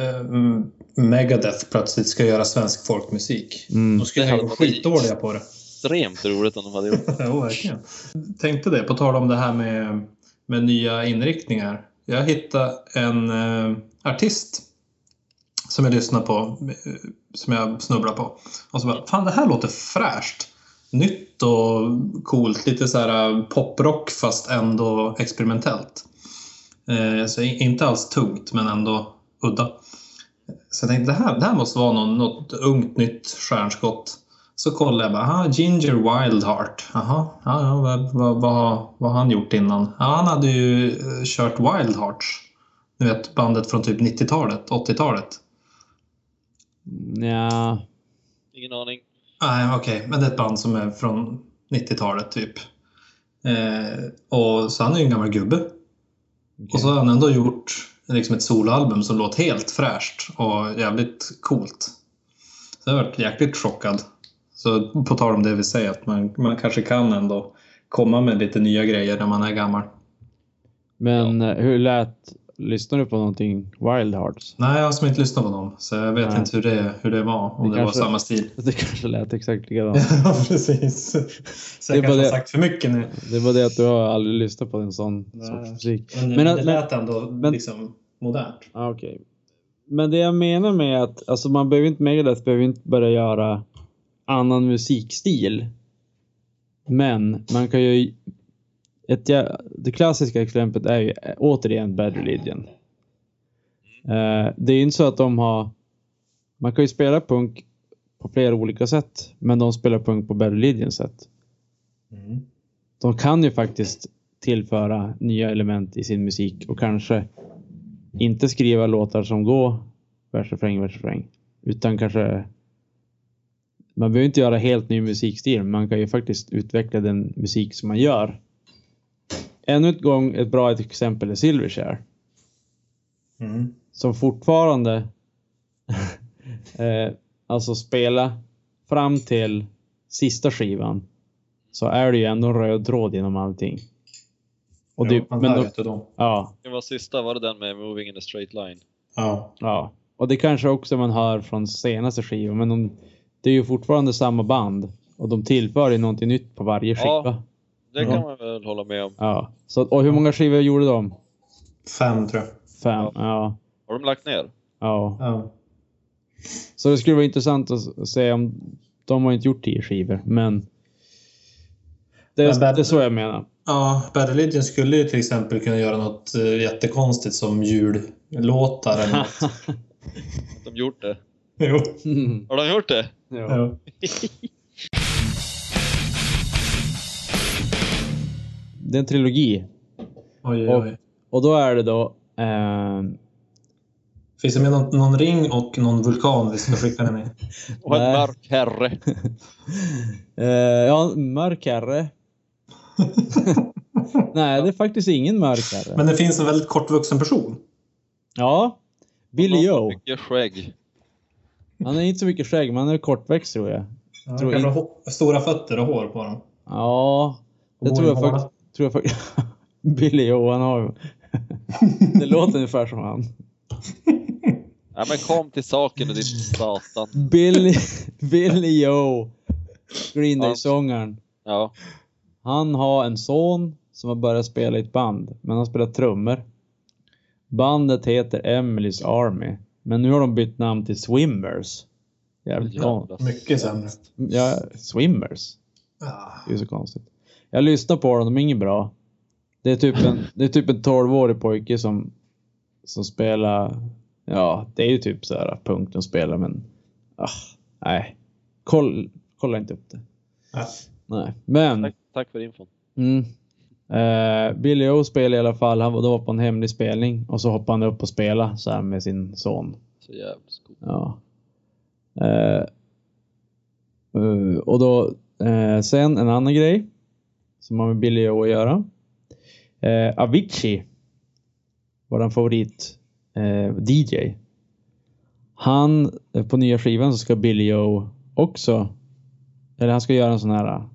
Speaker 4: eh, mm, Megadeth plötsligt ska göra svensk folkmusik.
Speaker 2: Mm.
Speaker 4: De
Speaker 5: Det
Speaker 4: skulle ju
Speaker 5: hade
Speaker 4: vara
Speaker 5: varit-
Speaker 4: skitdåliga på det.
Speaker 5: extremt roligt om de hade gjort det.
Speaker 4: Jo, verkligen. Tänkte det, på tal om det här med, med nya inriktningar. Jag hittade en eh, artist som jag lyssnar på, eh, som jag snubblar på. Och så bara, fan det här låter fräscht. Nytt och coolt, lite så här eh, poprock fast ändå experimentellt. Eh, så i- inte alls tungt men ändå udda. Så jag tänkte det här, det här måste vara någon, något ungt nytt stjärnskott. Så kollade jag bara, aha, Ginger Wildheart. Aha, ja, ja, vad, vad, vad, har- vad har han gjort innan? Ja, han hade ju eh, kört Wildhearts. Ni vet bandet från typ 90-talet, 80-talet.
Speaker 2: Ja,
Speaker 5: Ingen aning.
Speaker 4: Nej, okej, men det är ett band som är från 90-talet typ. Eh, och så han är ju en gammal gubbe. Och så har han ändå gjort liksom ett soloalbum som låter helt fräscht och jävligt coolt. Så jag har varit jäkligt chockad. Så på tal om det vi säger, att man, man kanske kan ändå komma med lite nya grejer när man är gammal.
Speaker 2: men eh, hur lät... Lyssnade du på någonting Wild Hearts?
Speaker 4: Nej, jag har som inte lyssnat på dem, så jag vet
Speaker 2: Nej.
Speaker 4: inte hur det, hur det var, om
Speaker 2: Det
Speaker 4: det,
Speaker 2: kanske-
Speaker 4: var samma stil.
Speaker 2: Det kanske lät exakt likadant.
Speaker 4: Ja, precis. Så
Speaker 2: Det är bara
Speaker 4: jag kanske har
Speaker 2: det-
Speaker 4: sagt för mycket nu.
Speaker 2: Det var det att du har aldrig lyssnat på en sån
Speaker 4: Nej.
Speaker 2: sorts musik.
Speaker 4: Men,
Speaker 2: Men-
Speaker 4: det lät ändå
Speaker 2: men-
Speaker 4: liksom modernt.
Speaker 2: Ah, okej. Men det jag menar med att alltså man behöver inte Megadeth behöver inte börja göra annan musikstil. Men man kan ju... Ett, jä- det klassiska exemplet är ju eh, återigen Bad Religion. Eh, det är ju inte så att de har... Man kan ju spela punk på flera olika sätt, men de spelar punk på Bad Religion sätt.
Speaker 4: Mm,
Speaker 2: De kan ju faktiskt tillföra nya element i sin musik och kanske inte skriva låtar som går vers, refräng, vers, refräng. Utan kanske... Man behöver inte göra helt ny musikstil, men man kan ju faktiskt utveckla den musik som man gör. Ännu ett gång ett bra exempel är Silverchair,
Speaker 4: Mm.
Speaker 2: som fortfarande eh, alltså spela fram till sista skivan så är det ju ändå en röd tråd genom allting. Och det,
Speaker 4: jo, man
Speaker 2: men
Speaker 4: lär
Speaker 2: då,
Speaker 4: ju inte dem.
Speaker 2: ja,
Speaker 5: Det var sista, var det den med Moving in a straight line?
Speaker 4: Ja.
Speaker 2: Ja, och det kanske också man hör från senaste skivan, men de, det är ju fortfarande samma band och de tillför ju någonting nytt på varje
Speaker 5: Ja.
Speaker 2: skiva.
Speaker 5: Det kan
Speaker 2: Ja.
Speaker 5: man väl hålla med om.
Speaker 2: Ja. Så, och hur många skivor gjorde de?
Speaker 4: Fem tror jag.
Speaker 2: Fem? Ja.
Speaker 5: Har de lagt ner?
Speaker 2: ja.
Speaker 4: Ja.
Speaker 2: Så det skulle vara intressant att s- se om de har inte gjort tio skivor, men det,
Speaker 4: Men Bad-
Speaker 2: det är så jag menar.
Speaker 4: Ja, Bad Religion skulle ju till exempel kunna göra något eh, jättekonstigt som jullåtar eller något.
Speaker 5: Att de gjort det?
Speaker 4: jo.
Speaker 5: Har de gjort det?
Speaker 2: ja.
Speaker 4: Ja.
Speaker 2: Det är en trilogi
Speaker 4: Oj,
Speaker 2: Och-
Speaker 4: oj, oj.
Speaker 2: och då är det då ehm,
Speaker 4: Finns det med någon, någon ring och någon vulkan vi ska skicka den i?
Speaker 5: Och en
Speaker 2: Nej.
Speaker 5: mörk herre.
Speaker 2: Eh, ja, mörk herre. Nej, det är faktiskt ingen mörk herre.
Speaker 4: Men det finns en väldigt kortvuxen person.
Speaker 2: Ja, Billy Joe.
Speaker 5: Mycket skägg.
Speaker 2: Han är inte så mycket skägg, men han är kortväxt tror jag.
Speaker 4: Ja,
Speaker 2: Tror
Speaker 4: kanske hå- Stora fötter och hår på dem.
Speaker 2: Ja, det
Speaker 4: Hår
Speaker 2: tror
Speaker 4: i
Speaker 2: jag
Speaker 4: håret.
Speaker 2: faktiskt. Tror jag faktiskt. Billy Joe, han har Det låter ungefär som han.
Speaker 5: Ja, men kom till saken du din satan.
Speaker 2: Billy, Billy Joe, Green
Speaker 5: Ja.
Speaker 2: Day-sångaren.
Speaker 5: Ja.
Speaker 2: Han har en son som har börjat spela i ett band, men han spelar trummor. Bandet heter Emily's Army, men nu har de bytt namn till Swimmers. Jävligt konstigt.
Speaker 5: Jävla
Speaker 4: Mycket sämre.
Speaker 2: Ja, Swimmers.
Speaker 4: Ja.
Speaker 2: Det är ju så konstigt. Jag lyssnar på dem, de är inget bra. Det är typ en, det är typ en 12-årig pojke som, som spelar, ja, det är ju typ så här punkt de spelar, men ah, nej. Koll, kolla inte upp det.
Speaker 4: Ja.
Speaker 2: Nej, men.
Speaker 5: Tack, tack för infon.
Speaker 2: Mm. Eh, Billy O spelade i alla fall. Han var då på en hemlig spelning och så hoppade han upp och spelade så här med sin son.
Speaker 5: Så jävligt god.
Speaker 2: Ja. Eh, eh, och då eh, sen en annan grej som har med Billy O att göra. Eh, Avicii, våran favorit eh, DJ. Han, eh, på nya skivan så ska Billy O också, eller han ska göra en sån här,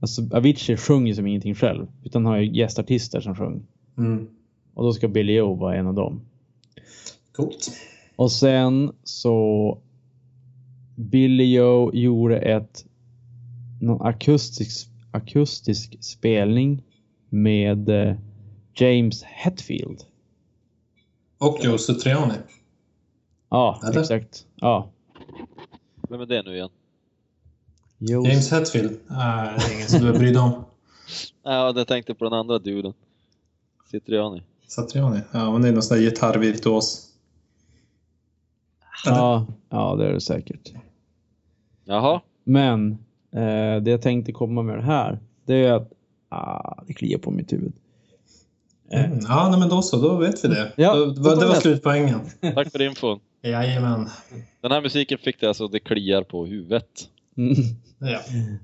Speaker 2: alltså Avicii sjunger som ingenting själv, utan har ju gästartister som sjunger.
Speaker 4: Mm.
Speaker 2: Och då ska Billy O vara en av dem.
Speaker 4: Coolt.
Speaker 2: Och sen så Billy Joe gjorde ett någon akustisk, akustisk spelning med eh, James Hetfield.
Speaker 4: Och Joe Triani.
Speaker 2: Ja,
Speaker 4: Eller?
Speaker 2: exakt. Ja.
Speaker 5: Vem är det nu igen?
Speaker 2: Jo,
Speaker 4: James Hetfield. Nej, det är ingen som du bryr dig om.
Speaker 5: Ja, jag tänkte på den andra duden. Citriani.
Speaker 4: Satriani? Ja, men det är någon sån där gitarrvirtuos.
Speaker 2: ja, ja, det är det säkert.
Speaker 5: Jaha.
Speaker 2: Men eh, det jag tänkte komma med det här, det är att ah, det kliar på mitt huvud.
Speaker 4: Mm. Ja, nej, men då så. Då vet vi det.
Speaker 2: Ja,
Speaker 4: då,
Speaker 2: då
Speaker 4: det var
Speaker 2: vet.
Speaker 4: slutpoängen.
Speaker 5: Tack för infon.
Speaker 4: Jajamän.
Speaker 5: Den här musiken fick det alltså, det kliar på huvudet.
Speaker 2: Mm.
Speaker 4: Ja.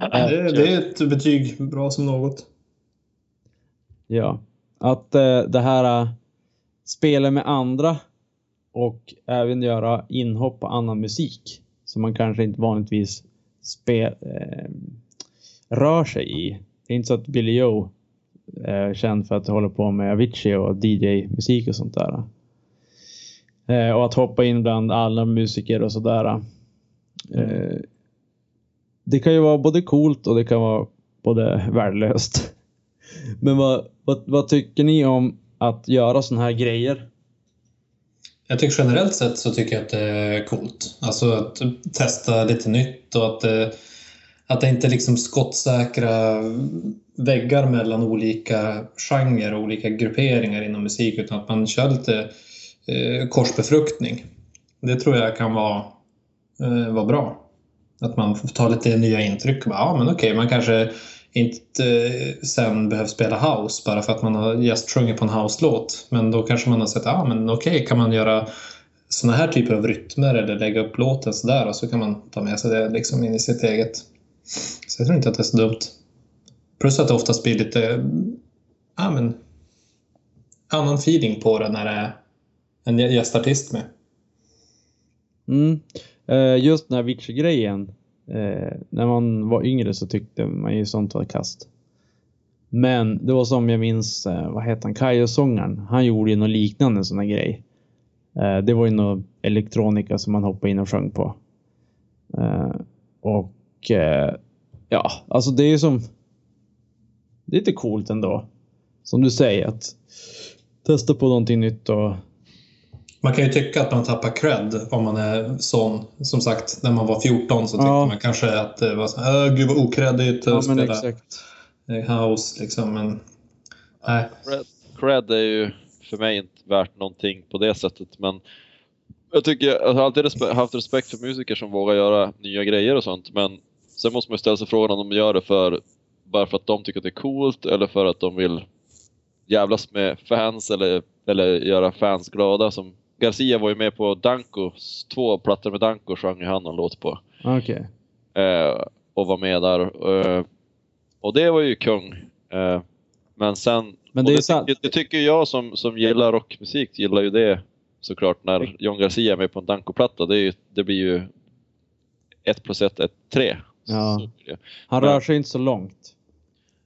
Speaker 4: Det, det är ett betyg bra som något.
Speaker 2: Ja, att eh, det här eh, spela med andra och även göra inhopp på annan musik som man kanske inte vanligtvis spe, eh, rör sig i. Det är inte så att Billy Joe är känd för att hålla på med Avicii och DJ-musik och sånt där. Eh, och att hoppa in bland alla musiker och sådär. Eh, det kan ju vara både coolt och det kan vara både värdelöst. Men vad, vad, vad tycker ni om att göra såna här grejer?
Speaker 4: Jag tycker generellt sett så tycker jag att det är coolt. Alltså att testa lite nytt och att, eh, att det inte är liksom skottsäkra väggar mellan olika genrer och olika grupperingar inom musik utan att man kör lite eh, korsbefruktning. Det tror jag kan vara, eh, vara bra. Att man får ta lite nya intryck. Bara, Ja, men okej, man kanske inte eh, sen behöver spela house bara för att man har gästsjungit på en house-låt. Men då kanske man har sett, ja men okej, kan man göra såna här typer av rytmer eller lägga upp låten sådär och så kan man ta med sig det liksom in i sitt eget. Så jag tror inte att det är så dumt. Plus att det oftast blir lite, mm, ja men, annan feeling på det när det är en gä- gästartist med.
Speaker 2: Mm. Eh, just den här Avicii-grejen. Eh, när man var yngre så tyckte man ju sånt var kast. Men det var som jag minns, eh, vad hette han, Kayo-sångaren. Han gjorde ju något liknande sån här grej. Eh, det var ju någon elektronika som man hoppade in och sjöng på. Eh, och eh, ja, alltså det är ju som... Det är lite coolt ändå. Som du säger, att testa på någonting nytt och
Speaker 4: Man kan ju tycka att man tappar cred om man är sån. Som sagt, när man var 14 så tyckte
Speaker 2: Ja.
Speaker 4: man kanske att det var så här, "Äh, gud vad okreddigt att
Speaker 2: Ja, men
Speaker 4: spela
Speaker 2: exakt.
Speaker 4: house liksom. Men, nej.
Speaker 5: Cred, cred är ju för mig inte värt någonting på det sättet, men jag tycker jag har alltid respe- haft respekt för musiker som vågar göra nya grejer och sånt, men sen måste man ju ställa sig frågan om de gör det för bara för att de tycker att det är coolt eller för att de vill jävlas med fans eller, eller göra fans glada. Som Garcia var ju med på Dankos två plattor med Danko sjöng ju han någon låt på
Speaker 2: Okej.
Speaker 5: eh, och var med där. Eh, och det var ju kung. Eh, men sen...
Speaker 2: Men
Speaker 5: och
Speaker 2: det är
Speaker 5: det,
Speaker 2: sant.
Speaker 5: tycker- det tycker jag som, som gillar rockmusik gillar ju det såklart
Speaker 2: Mm.
Speaker 5: när John Garcia är med på en Danko-platta. Det, är ju, det blir ju ett plus ett är tre.
Speaker 2: Ja.
Speaker 5: Så blir det.
Speaker 2: Han
Speaker 5: Men-
Speaker 2: rör sig inte så långt.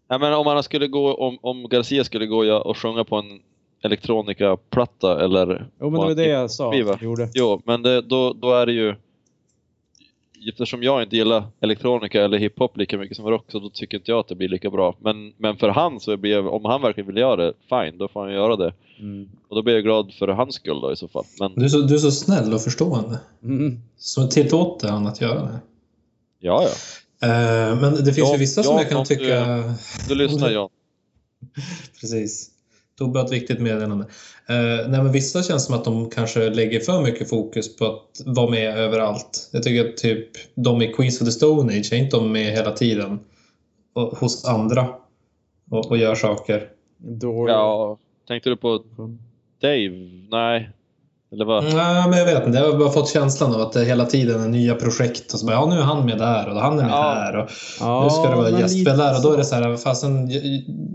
Speaker 5: Nej, men om, han skulle gå, om, om Garcia skulle gå och gö- och sjunga på en elektronika-platta eller...
Speaker 2: Jo, men det var det jag sa.
Speaker 5: Skiva.
Speaker 2: Jag gjorde.
Speaker 5: Jo, men det, då, då är det ju... Eftersom jag inte gillar elektronika eller hiphop lika mycket som rock så då tycker inte jag att det blir lika bra. Men, men för han så blir jag, om han verkligen vill göra det, fine, då får han göra det.
Speaker 2: Mm.
Speaker 5: Och då blir jag glad för hans skull då i så fall. Men
Speaker 4: Du, är så, du är så snäll och förstående.
Speaker 2: Mm.
Speaker 4: Så tillåter han att göra det.
Speaker 5: ja, ja.
Speaker 4: Eh, men det finns
Speaker 5: Ja,
Speaker 4: ju vissa
Speaker 5: ja,
Speaker 4: som jag kan
Speaker 5: om du-
Speaker 4: tycka...
Speaker 5: Du lyssnar John.
Speaker 4: Precis. Tobbe har ett viktigt meddelande. Eh, nej, men vissa känns som att de kanske lägger för mycket fokus på att vara med överallt. Jag tycker att typ de i Queens of the Stone Age, är inte de med hela tiden och, hos andra och, och gör saker?
Speaker 2: Dålig.
Speaker 5: Ja, tänkte du på Dave? Nej. Eller vad?
Speaker 4: Nej, men jag vet inte. Jag har bara fått känslan av att det hela tiden är nya projekt och så bara, ja nu är han med där och han är med
Speaker 5: Ja.
Speaker 4: här och
Speaker 2: Ja,
Speaker 4: nu ska det
Speaker 2: men
Speaker 4: vara
Speaker 2: lite
Speaker 4: gästspelare och då är det
Speaker 2: så.
Speaker 4: så här, fasen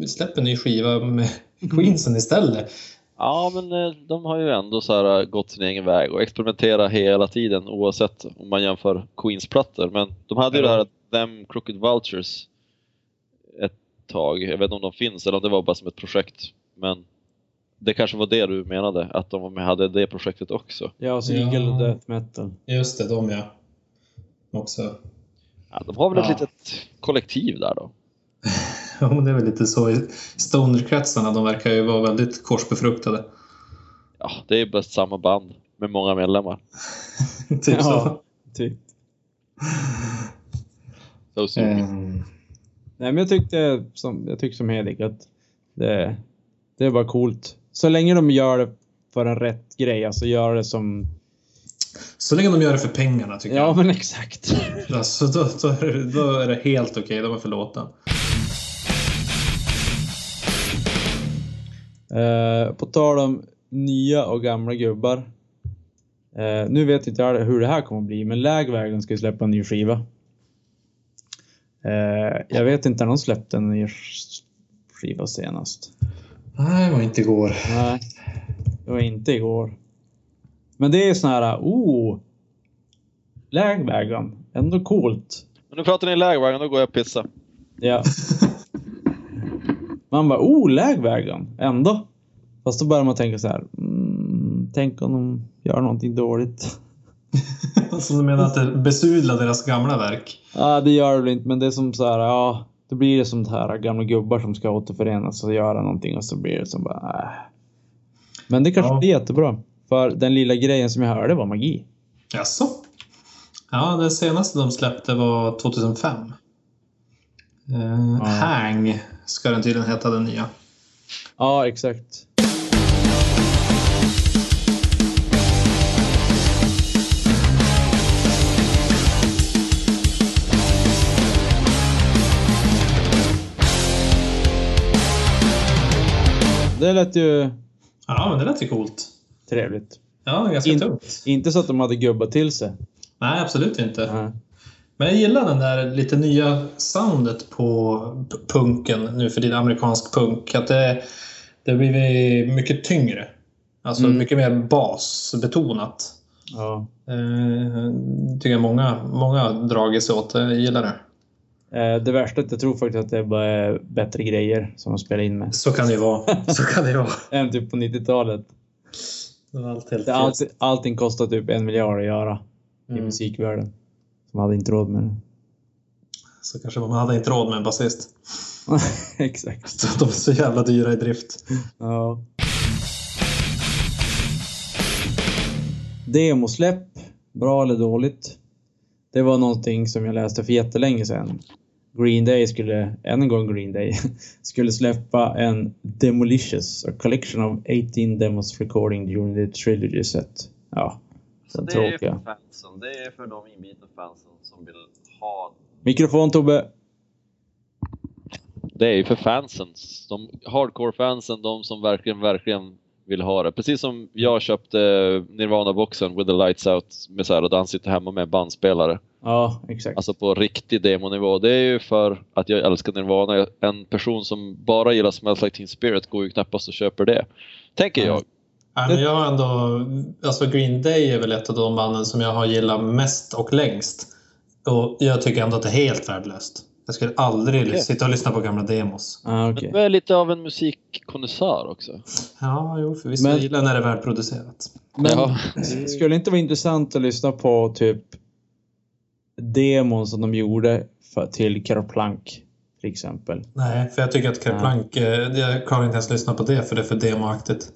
Speaker 4: släpp en ny skiva med
Speaker 2: Mhm.
Speaker 4: Queensen istället.
Speaker 5: Ja, men eh, de har ju ändå så här eh, gått sin egen väg och experimenterat hela tiden oavsett om man jämför Queens-plattor. Men de hade ju
Speaker 4: Ja.
Speaker 5: det här Them Crooked Vultures ett tag. Jag vet inte om de finns eller om det var bara som ett projekt. Men det kanske var det du menade, att de var med- hade det projektet också.
Speaker 2: Ja, och så Eagle
Speaker 4: Ja.
Speaker 2: Death Metal.
Speaker 4: Just det, de ja. Också.
Speaker 5: Ja, de har väl ett
Speaker 4: Ja.
Speaker 5: litet kollektiv där då.
Speaker 4: Ja, men det är väl lite så i stonerkretsarna. De verkar ju vara väldigt korsbefruktade.
Speaker 5: Ja, det är ju bäst samma band med många medlemmar.
Speaker 4: typ
Speaker 2: Ja, typ.
Speaker 5: So
Speaker 4: så.
Speaker 5: soon.
Speaker 2: Mm.
Speaker 4: Ehm,
Speaker 2: Nej, men jag tyckte som, jag tyckte som Hedik att det, det är bara coolt. Så länge de gör det för en rätt grej, alltså gör det som...
Speaker 4: Så länge de gör det för pengarna tycker
Speaker 2: Ja, men exakt.
Speaker 4: jag. Alltså, då, då, är det- då är det helt okej. De är förlåten.
Speaker 2: Eh, på tal om nya och gamla gubbar. Eh, nu vet inte jag hur det här kommer att bli, men Lägvägen ska ju släppa en ny skiva. Eh, jag vet inte när de släppte en ny skiva senast.
Speaker 4: Nej, det var inte igår.
Speaker 2: Nej, det var inte igår. Men det är sån här, oh! Lägvägen, ändå coolt.
Speaker 5: Men nu pratar ni lägvagn, då går jag och pissar.
Speaker 2: Ja. Man bara, oh, lägvägen, ändå. Fast då börjar man tänka så här, mm, tänk om de gör någonting dåligt.
Speaker 4: Som du menar att det besudlar deras gamla verk?
Speaker 2: Ja, det gör det väl inte, men det är som så här, ja, då blir det som det här gamla gubbar som ska återförenas och göra någonting och så blir det som bara, äh. Men det kanske
Speaker 4: Ja.
Speaker 2: blir jättebra. För den lilla grejen som jag hörde var magi.
Speaker 4: Jaså? Ja, det senaste de släppte var 2005. Eh,
Speaker 2: Ja.
Speaker 4: Hang ska den tydligen heta, den nya.
Speaker 2: Ja, exakt. Det lät ju
Speaker 4: Ja, men det lät ju coolt.
Speaker 2: trevligt.
Speaker 4: Ja, ganska
Speaker 2: In-
Speaker 4: tungt.
Speaker 2: Inte så att de hade gubbat till sig.
Speaker 4: Nej, absolut inte.
Speaker 2: Nej.
Speaker 4: Men jag gillar den där lite nya soundet på p- punken nu för din amerikansk punk. Att det, det har blivit mycket tyngre. Alltså
Speaker 2: Mm.
Speaker 4: mycket mer basbetonat.
Speaker 2: Ja.
Speaker 4: Eh, tycker jag många, många har dragit sig åt. Jag gillar det.
Speaker 2: Eh, Det värsta är att jag tror faktiskt att det är bara är bättre grejer som de spelar in med.
Speaker 4: Så kan det ju vara. Så kan det ju vara.
Speaker 2: Än typ på 90-talet.
Speaker 4: Det var allt helt
Speaker 2: Det- Allt, allting kostar typ en miljard att göra i
Speaker 4: Mm.
Speaker 2: musikvärlden. Som hade inte råd med det.
Speaker 4: Så kanske man hade inte råd med en basist.
Speaker 2: Exakt.
Speaker 4: Så De är så jävla dyra i drift.
Speaker 2: Ja. Demosläpp. Bra eller dåligt? Det var någonting som jag läste för jättelänge sedan. Green Day skulle, än en gång Green Day, skulle släppa en Demolicious, a collection of 18 demos recording during the trilogy set. Ja,
Speaker 3: Så
Speaker 2: den
Speaker 3: det är ju för
Speaker 2: tråkiga.
Speaker 3: fansen. Det är för de inbitna fansen som vill ha...
Speaker 2: Mikrofon Tobbe.
Speaker 5: Det är ju för fansen. De hardcore-fansen, de som verkligen, verkligen vill ha det. Precis som jag köpte Nirvana-boxen With the Lights Out med så här, och han sitter hemma med en bandspelare.
Speaker 2: Ja, exakt.
Speaker 5: Alltså på riktig demonivå. Det är ju för att jag älskar Nirvana. En person som bara gillar Smells Like Teen Spirit går ju knappast och köper det. Tänker jag.
Speaker 4: Ja, men jag har ändå, alltså Green Day är väl ett av de banden som jag har gillat mest och längst. Och jag tycker ändå att det är helt värdelöst. Jag skulle aldrig
Speaker 5: Okej.
Speaker 4: sitta och lyssna på gamla demos.
Speaker 2: Ah,
Speaker 5: Men
Speaker 2: okej.
Speaker 5: du är lite av en musikkonnässör också.
Speaker 4: Ja, jo, förvisso.
Speaker 2: Men-
Speaker 4: Jag gillar när det är välproducerat.
Speaker 2: Men
Speaker 5: Ja.
Speaker 2: skulle det inte vara intressant att lyssna på typ demon som de gjorde för, till Kerplank till exempel?
Speaker 4: Nej, för jag tycker att Kerplank, eh, jag klarar inte ens lyssna på det för det är för demoaktigt.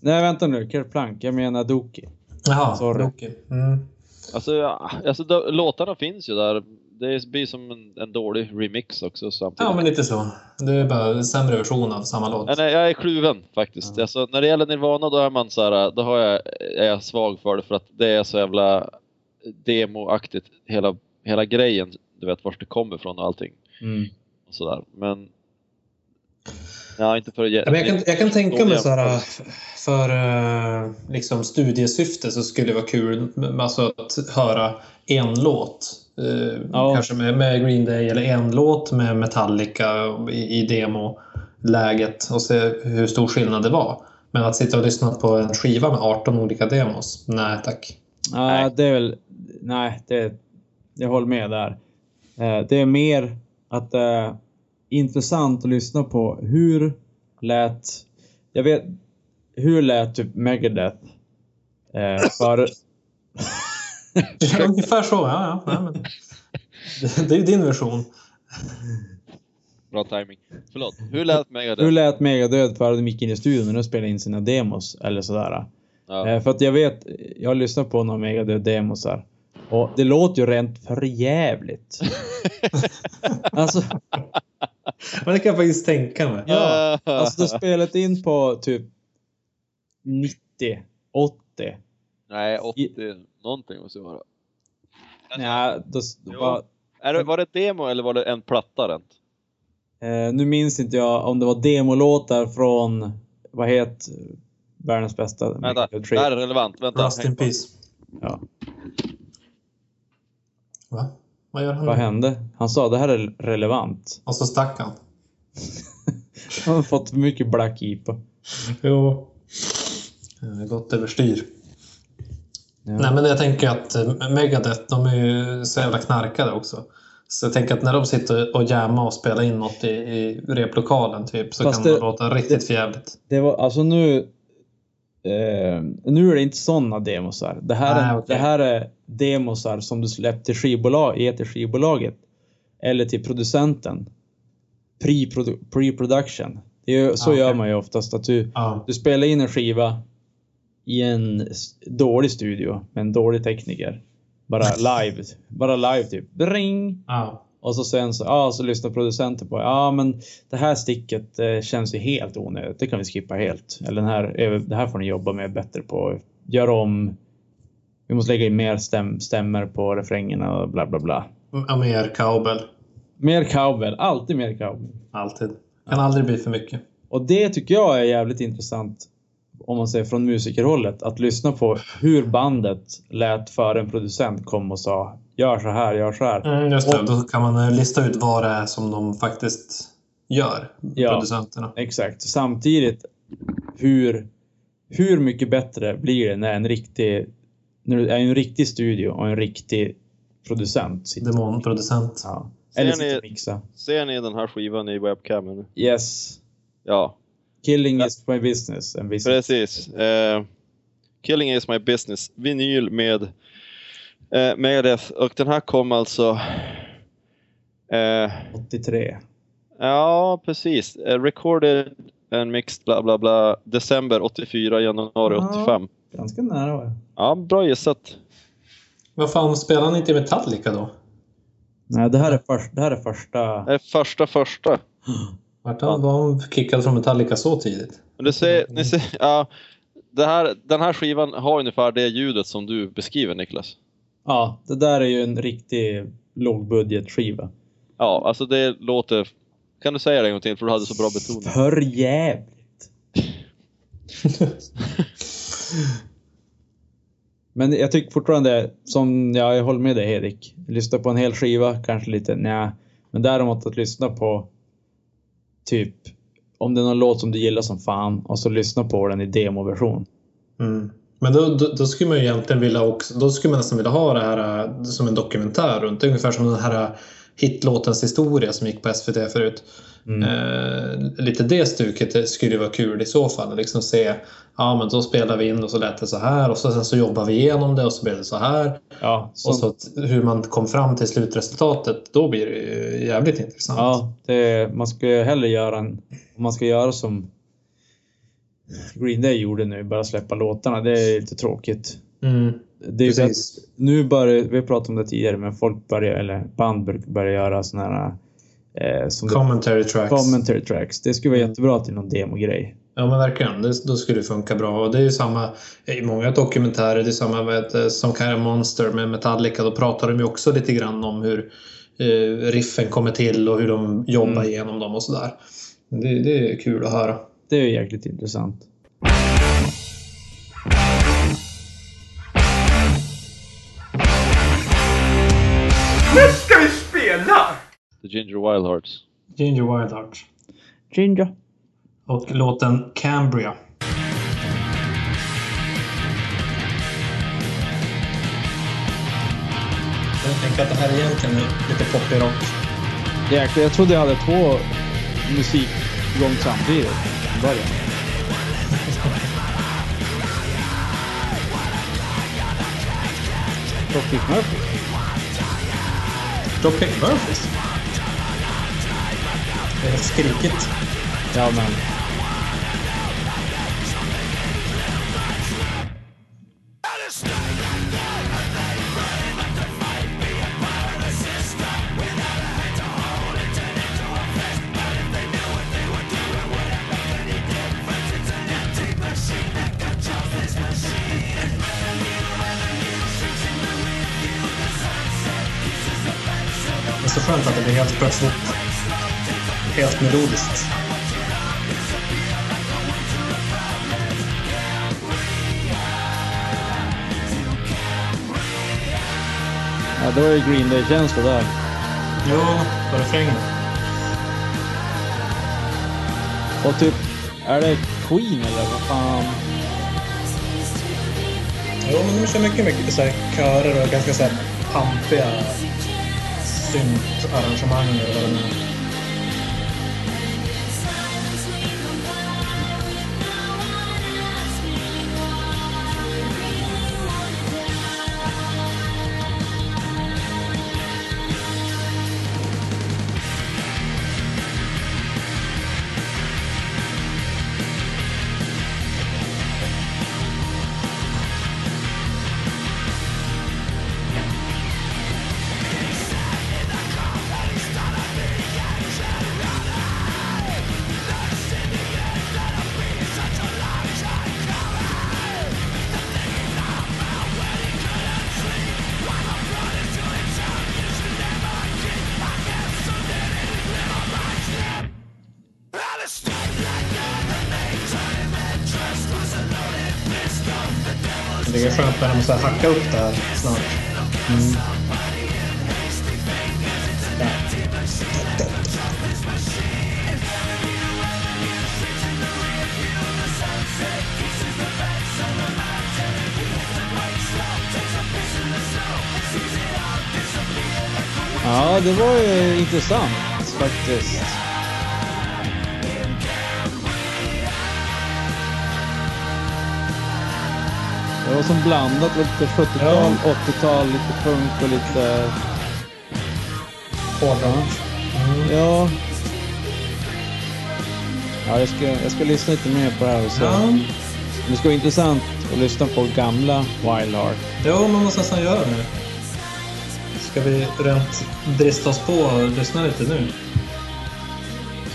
Speaker 2: Nej, vänta nu. Kerplank. Jag menar Doki.
Speaker 4: Jaha,
Speaker 2: Sorry.
Speaker 4: okej. Mm.
Speaker 5: Alltså, ja, alltså då, låtarna finns ju där. Det blir som en, en dålig remix också samtidigt.
Speaker 4: Ja, men lite så. Det är bara en sämre version av samma låt.
Speaker 5: Nej, nej, jag är kluven faktiskt.
Speaker 2: Ja.
Speaker 5: Alltså, när det gäller Nirvana då är man så här, då har jag, är jag svag för det för att det är så jävla demoaktigt hela, hela grejen. Du vet vart det kommer ifrån och allting. Och så där. Men... Ja, inte för att ge-
Speaker 4: Ja, men jag, kan, jag kan tänka mig
Speaker 5: dåliga-
Speaker 4: så här, för eh, liksom studiesyfte så skulle det vara kul med- alltså, att höra en låt. Eh,
Speaker 2: Ja.
Speaker 4: Kanske med, med Green Day eller en låt med Metallica i, i demoläget och se hur stor skillnad det var. Men att sitta och lyssna på en skiva med 18 olika demos? Nej tack.
Speaker 2: Nej, det är väl... Nej, det, jag håller med där. Eh, Det är mer att det är intressant att lyssna på hur lät... Jag vet... Hur lät typ Megadeth? Eh, för,
Speaker 4: Ungefär så, ja. ja. Nej, men. Det är ju din version.
Speaker 5: Bra timing. Förlåt. Hur lät
Speaker 2: Nu
Speaker 5: Megadeth?
Speaker 2: lät Megadöd för hade micken i studion när de spelade in sina demos eller sådär.
Speaker 5: Ja.
Speaker 2: Eh, För att jag vet, jag har lyssnat på några Megadöd-demosar. Och det låter ju rent för jävligt. alltså,
Speaker 4: Men det kan jag faktiskt tänka mig.
Speaker 2: ja. Alltså det spelat in på typ 90, 80.
Speaker 5: Nej, 80 någonting måste det vara.
Speaker 2: Nej, då, då
Speaker 5: Jo.
Speaker 2: var,
Speaker 5: Är det, var det ett demo eller var det en platta rent?
Speaker 2: eh, nu minns inte jag om det var demolåtar från, vad heter världens bästa?
Speaker 5: Vänta,
Speaker 2: Megadöd
Speaker 5: det
Speaker 2: Trip.
Speaker 5: här är relevant. Vänta.
Speaker 4: Rust in peace.
Speaker 2: Ja.
Speaker 4: Va? Vad gör han
Speaker 2: Vad
Speaker 4: nu?
Speaker 2: hände? Han sa det här är relevant.
Speaker 4: Och så stack han.
Speaker 2: Han har fått för mycket black IPA.
Speaker 4: Jo. Eh, Gått överstyr.
Speaker 2: Ja.
Speaker 4: Nej, men jag tänker att eh, Megadeth, de är ju så jävla knarkade också. Så jag tänker att när de sitter och jammar och spelar in något i, i replokalen typ, så
Speaker 2: Fast
Speaker 4: kan det,
Speaker 2: det-
Speaker 4: låta riktigt förjävligt.
Speaker 2: Det var, alltså nu... Eh, nu är det inte sådana demosar. Det här, är,
Speaker 4: Nej, okej.
Speaker 2: det här är demosar som du släppt till skivbolag, ger till skivbolaget. Eller till producenten. Pre-produ- Pre-production. Det är, ju- så
Speaker 4: Ja,
Speaker 2: gör
Speaker 4: Ah, okej.
Speaker 2: man ju oftast. Att du,
Speaker 4: Ja.
Speaker 2: du spelar in en skiva i en s- dålig studio med en dålig tekniker. Bara live. Bara live typ. Ring!
Speaker 4: ja.
Speaker 2: Och så sen så, ja, så lyssnar producenten på, ja men det här sticket eh, känns ju helt onödigt, det kan vi skippa helt. Eller den här, över- det här får ni jobba med bättre på, gör om, vi måste lägga in mer stäm, stämmer på refrängerna och bla bla bla.
Speaker 4: Ja, Mer cowbell.
Speaker 2: Mer cowbell, alltid mer cowbell.
Speaker 4: Alltid. Kan aldrig bli för mycket.
Speaker 2: Och det tycker jag är jävligt intressant, om man säger från musikerhållet, att lyssna på hur bandet lät före en producent kom och sa, gör så här, gör så här.
Speaker 4: Mm, just det. Då kan man eh, lista ut vad det är som de faktiskt gör,
Speaker 2: Ja.
Speaker 4: producenterna.
Speaker 2: Exakt. Samtidigt, hur, hur mycket bättre blir det när en riktig, när det är en riktig studio och en riktig producent sitter
Speaker 4: Demonproducent.
Speaker 2: ja.
Speaker 5: Ser
Speaker 2: Eller
Speaker 5: ni-
Speaker 2: sitter och mixar.
Speaker 5: Ser ni den här skivan i webcamen?
Speaker 2: Yes.
Speaker 5: Ja,
Speaker 2: Killing is my business. And business.
Speaker 5: precis. Eh, Killing is my business. Vinyl med uh, Megadeth. Och den här kom alltså... eh,
Speaker 2: 83.
Speaker 5: Ja, precis. Eh, recorded and mixed bla bla bla. December 84, januari
Speaker 2: Ja.
Speaker 5: 85.
Speaker 2: Ganska nära var jag.
Speaker 5: Ja, bra gissat.
Speaker 4: Vad fan, spelar ni inte Metallica då?
Speaker 2: Nej, det här är, först, det här är första...
Speaker 5: Det är Eh, första första.
Speaker 4: Vart han, var han kickad från Metallica så tidigt?
Speaker 5: Men du ser, ni ser, ja, det här, den här skivan har ungefär det ljudet som du beskriver Niklas.
Speaker 2: Ja, det där är ju en riktig lågbudgetskiva.
Speaker 5: Ja, alltså det låter... Kan du säga det en gång till? För du hade så bra betoning.
Speaker 2: För jävligt. Men jag tycker fortfarande, som ja, jag håller med dig Erik, lyssna på en hel skiva kanske lite nej. Men däremot att lyssna på typ om det är någon låt som du gillar som fan och så lyssna på den i demoversion.
Speaker 4: Mm. Men då, då, då skulle man ju egentligen vilja också, då skulle man nästan vilja ha det här äh, som en dokumentär runt. Det är ungefär som den här äh, hitlåtens historia som gick på SVT förut.
Speaker 2: Mm.
Speaker 4: Eh, lite det stuket det skulle ju vara kul i så fall. Liksom se, ja men då spelar vi in och så lät det så här och så, sen så jobbar vi igenom det och så blev det så här.
Speaker 2: Ja,
Speaker 4: Och
Speaker 2: sånt.
Speaker 4: så att, hur man kom fram till slutresultatet, då blir det ju jävligt intressant.
Speaker 2: ja det, man ska ju hellre göra en, om man ska göra som Green Day gjorde nu, bara släppa låtarna. Det är lite tråkigt.
Speaker 4: Mm,
Speaker 2: Det är ju att
Speaker 4: precis.
Speaker 2: nu börjar, vi har pratat om det tidigare, men folk börjar, eller band bör- börjar göra sådana här eh, som det-
Speaker 4: Commentary tracks.
Speaker 2: Commentary tracks. Det skulle vara
Speaker 4: Mm.
Speaker 2: jättebra till någon demogrej.
Speaker 4: Ja men verkligen, det, då skulle det funka bra. Och det är ju samma i många dokumentärer, det är samma med, eh, som Kara Monster med Metallica, då pratar de ju också lite grann om hur eh, riffen kommer till och hur de jobbar
Speaker 2: Mm.
Speaker 4: igenom dem och sådär. Det, det är kul att höra.
Speaker 2: Det är ju jäkligt intressant.
Speaker 5: The Ginger Wild Hearts.
Speaker 4: Ginger Wildheart
Speaker 2: Ginger.
Speaker 4: och låten Cambria. Jag tänker att det här egentligen är lite poppig rock.
Speaker 2: Jäklar, jag trodde jag hade två musik igång samtidigt. i början. Dropkick Murphys.
Speaker 4: Dropkick Murphys. Det är skrikigt.
Speaker 2: Ja, men.
Speaker 4: Det är så skönt att det blir helt plötsligt helt melodiskt.
Speaker 2: Ja, då är Green Day-känsla där.
Speaker 4: Ja, på refrängen.
Speaker 2: Och typ, är det Queen eller vad fan?
Speaker 4: Jo, men de kör mycket, mycket så här körer och ganska så här pampiga syntarrangemang. eller vad det nu är. Det är skönt när de så här hackar upp det här snart.
Speaker 2: Ja, det var ju intressant faktiskt. Det var som blandat, lite 70-tal, 80-tal, lite punk och lite...
Speaker 4: Hårdrock. Mm.
Speaker 2: Ja. Ja, jag ska, jag ska lyssna lite mer på det här och se.
Speaker 4: Ja,
Speaker 2: Det ska vara intressant att lyssna på gamla Wild Heart.
Speaker 4: jo, man måste nästan göra det nu. Ska vi rent drista oss på och lyssna lite nu?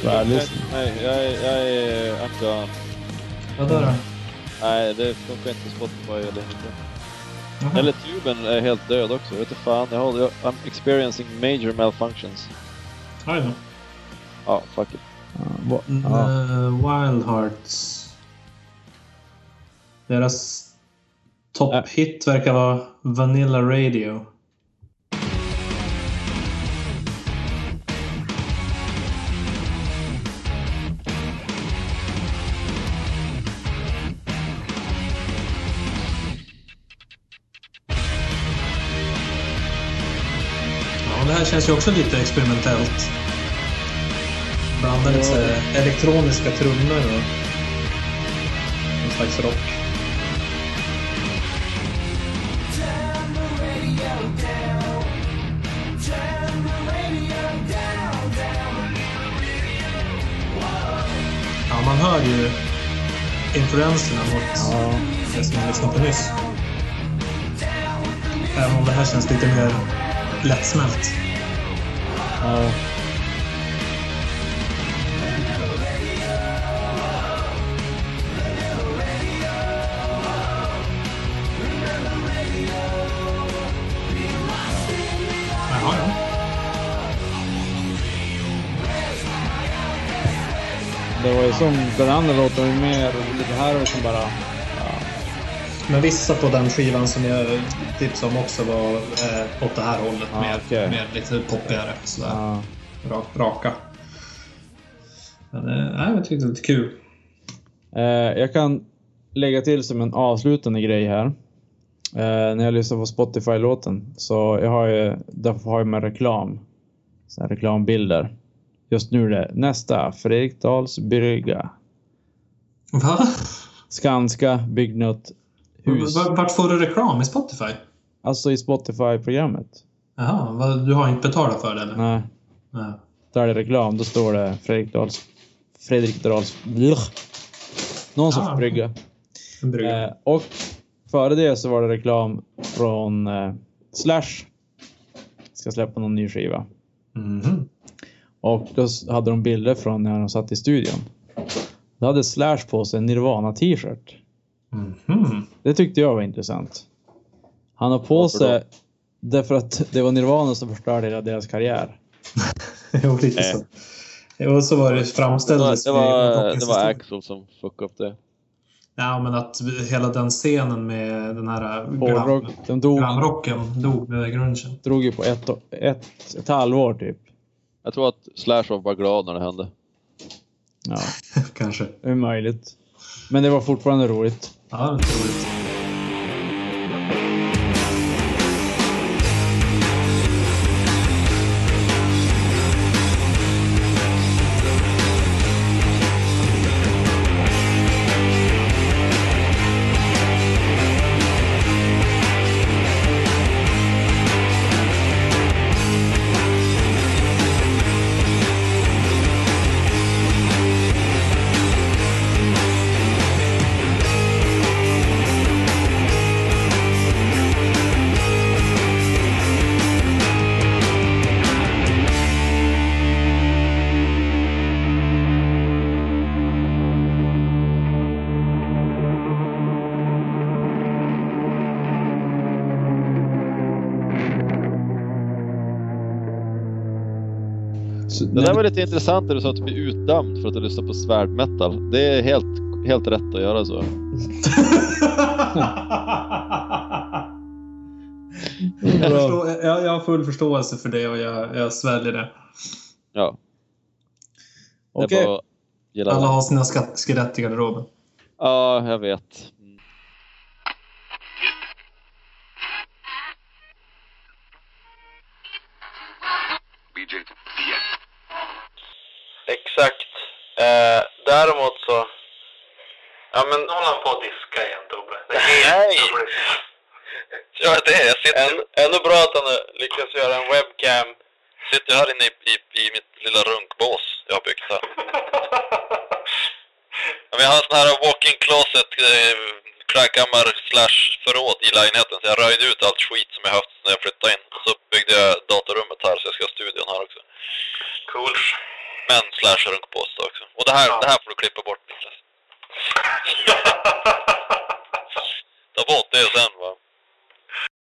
Speaker 2: Så här,
Speaker 5: Nej,
Speaker 2: lyssna.
Speaker 5: nej, jag är... Jag är inte,
Speaker 4: Ja, där då.
Speaker 5: nej, det funkar inte Spotify eller inte.
Speaker 4: Jaha.
Speaker 5: Eller tuben är helt död också. Jag vet inte fan. Jag håller, jag, I'm experiencing major malfunctions.
Speaker 4: Aj då.
Speaker 5: Ja, fuck it.
Speaker 2: Ja, va- ja.
Speaker 4: Uh, Wild Hearts. Deras topphit verkar vara Vanilla Radio. Ja, Det här känns ju också lite experimentellt. Blandar lite så här elektroniska trummor och någon slags rock. Ja, man hör ju influenserna mot
Speaker 2: Ja.
Speaker 4: det som man lyssnade på nyss. Även om det här känns lite mer lättsmält.
Speaker 2: Ja.
Speaker 4: Jaha, ja.
Speaker 2: Det var ju som den andra låten, var ju mer lite här och liksom bara...
Speaker 4: Men vissa på den skivan som jag tipsade om också var eh, åt det här hållet.
Speaker 2: Ah,
Speaker 4: mer,
Speaker 2: okej. Ah.
Speaker 4: mer lite poppigare. Sådär.
Speaker 2: Ja.
Speaker 4: Ra- raka. Men eh, nej, jag tyckte det var lite kul.
Speaker 2: Eh, jag kan lägga till som en avslutande grej här. Eh, när jag lyssnar på Spotify-låten så jag har ju, därför har jag med reklam. Så här reklambilder. Just nu är det nästa Fredriksdals brygga.
Speaker 4: Va?
Speaker 2: Skanska, Byggnatt, hus.
Speaker 4: V- Vart får du reklam i Spotify?
Speaker 2: Alltså i Spotify-programmet.
Speaker 4: Jaha, vad- du har inte betalat för det eller?
Speaker 2: Nej,
Speaker 4: Nej.
Speaker 2: där är det reklam. Då står det Fredrik Dahls... Fredrik Dahls... Blech. Någon som
Speaker 4: Ah.
Speaker 2: får brygga.
Speaker 4: En brygga.
Speaker 2: Eh, och före det så var det reklam från eh, Slash. Ska släppa någon ny skiva.
Speaker 4: Mhm.
Speaker 2: Och då s- hade de bilder från när de satt i studion. Då hade Slash på sig en Nirvana-t-shirt.
Speaker 4: Mhm.
Speaker 2: Det tyckte jag var intressant. Han har på
Speaker 5: Varför då?
Speaker 2: sig... Därför att det var Nirvana som förstörde hela deras karriär.
Speaker 4: jo, lite
Speaker 5: Nej.
Speaker 4: så. Och Eh. så var det
Speaker 5: Det var,
Speaker 4: framställdes
Speaker 5: det var,
Speaker 4: med-
Speaker 5: det var Axel som fuckade upp det.
Speaker 4: Ja, men att hela den scenen med den här eh,
Speaker 2: Hårdrock.
Speaker 4: glam,
Speaker 2: De dog,
Speaker 4: glamrocken dog med grungen.
Speaker 2: drog ju på ett, och- ett, ett halvår typ.
Speaker 5: Jag tror att Slash var bara glad när det hände.
Speaker 2: Ja,
Speaker 4: Kanske.
Speaker 2: det är möjligt. Men det var fortfarande roligt.
Speaker 4: Ja, det är roligt.
Speaker 5: Det där var lite intressant när du sa att du blir utdömd för att du lyssnar på svärdmetal. Det är helt, helt rätt att göra så.
Speaker 4: jag, förstår, jag, jag har full förståelse för det och jag, jag sväljer det.
Speaker 5: Ja, det är
Speaker 2: Okej.
Speaker 5: bara att gilla
Speaker 4: Alla
Speaker 5: det.
Speaker 4: har sina skatt- skelett i garderoben.
Speaker 5: Ja, jag vet. Mm.
Speaker 1: BJ
Speaker 6: Exakt. Eh, däremot så... Ja, men... Nu håller han på att diska igen, Tobbe. Nej! ja, det är jag sitter... Än, ännu bra att han har lyckats göra en webcam. Sitter här inne i, i, i mitt lilla runkbås jag har byggt här. ja, men jag har en sån här walk-in closet, eh, klädkammare slash förråd i lägenheten. Så jag röjde ut allt skit som jag haft när jag flyttade in. Och så byggde jag datorrummet här, så jag ska ha studion här också. Cool. Men slash runkbås då också. Och det här, det här får du klippa bort Niklas. Ta bort det sen.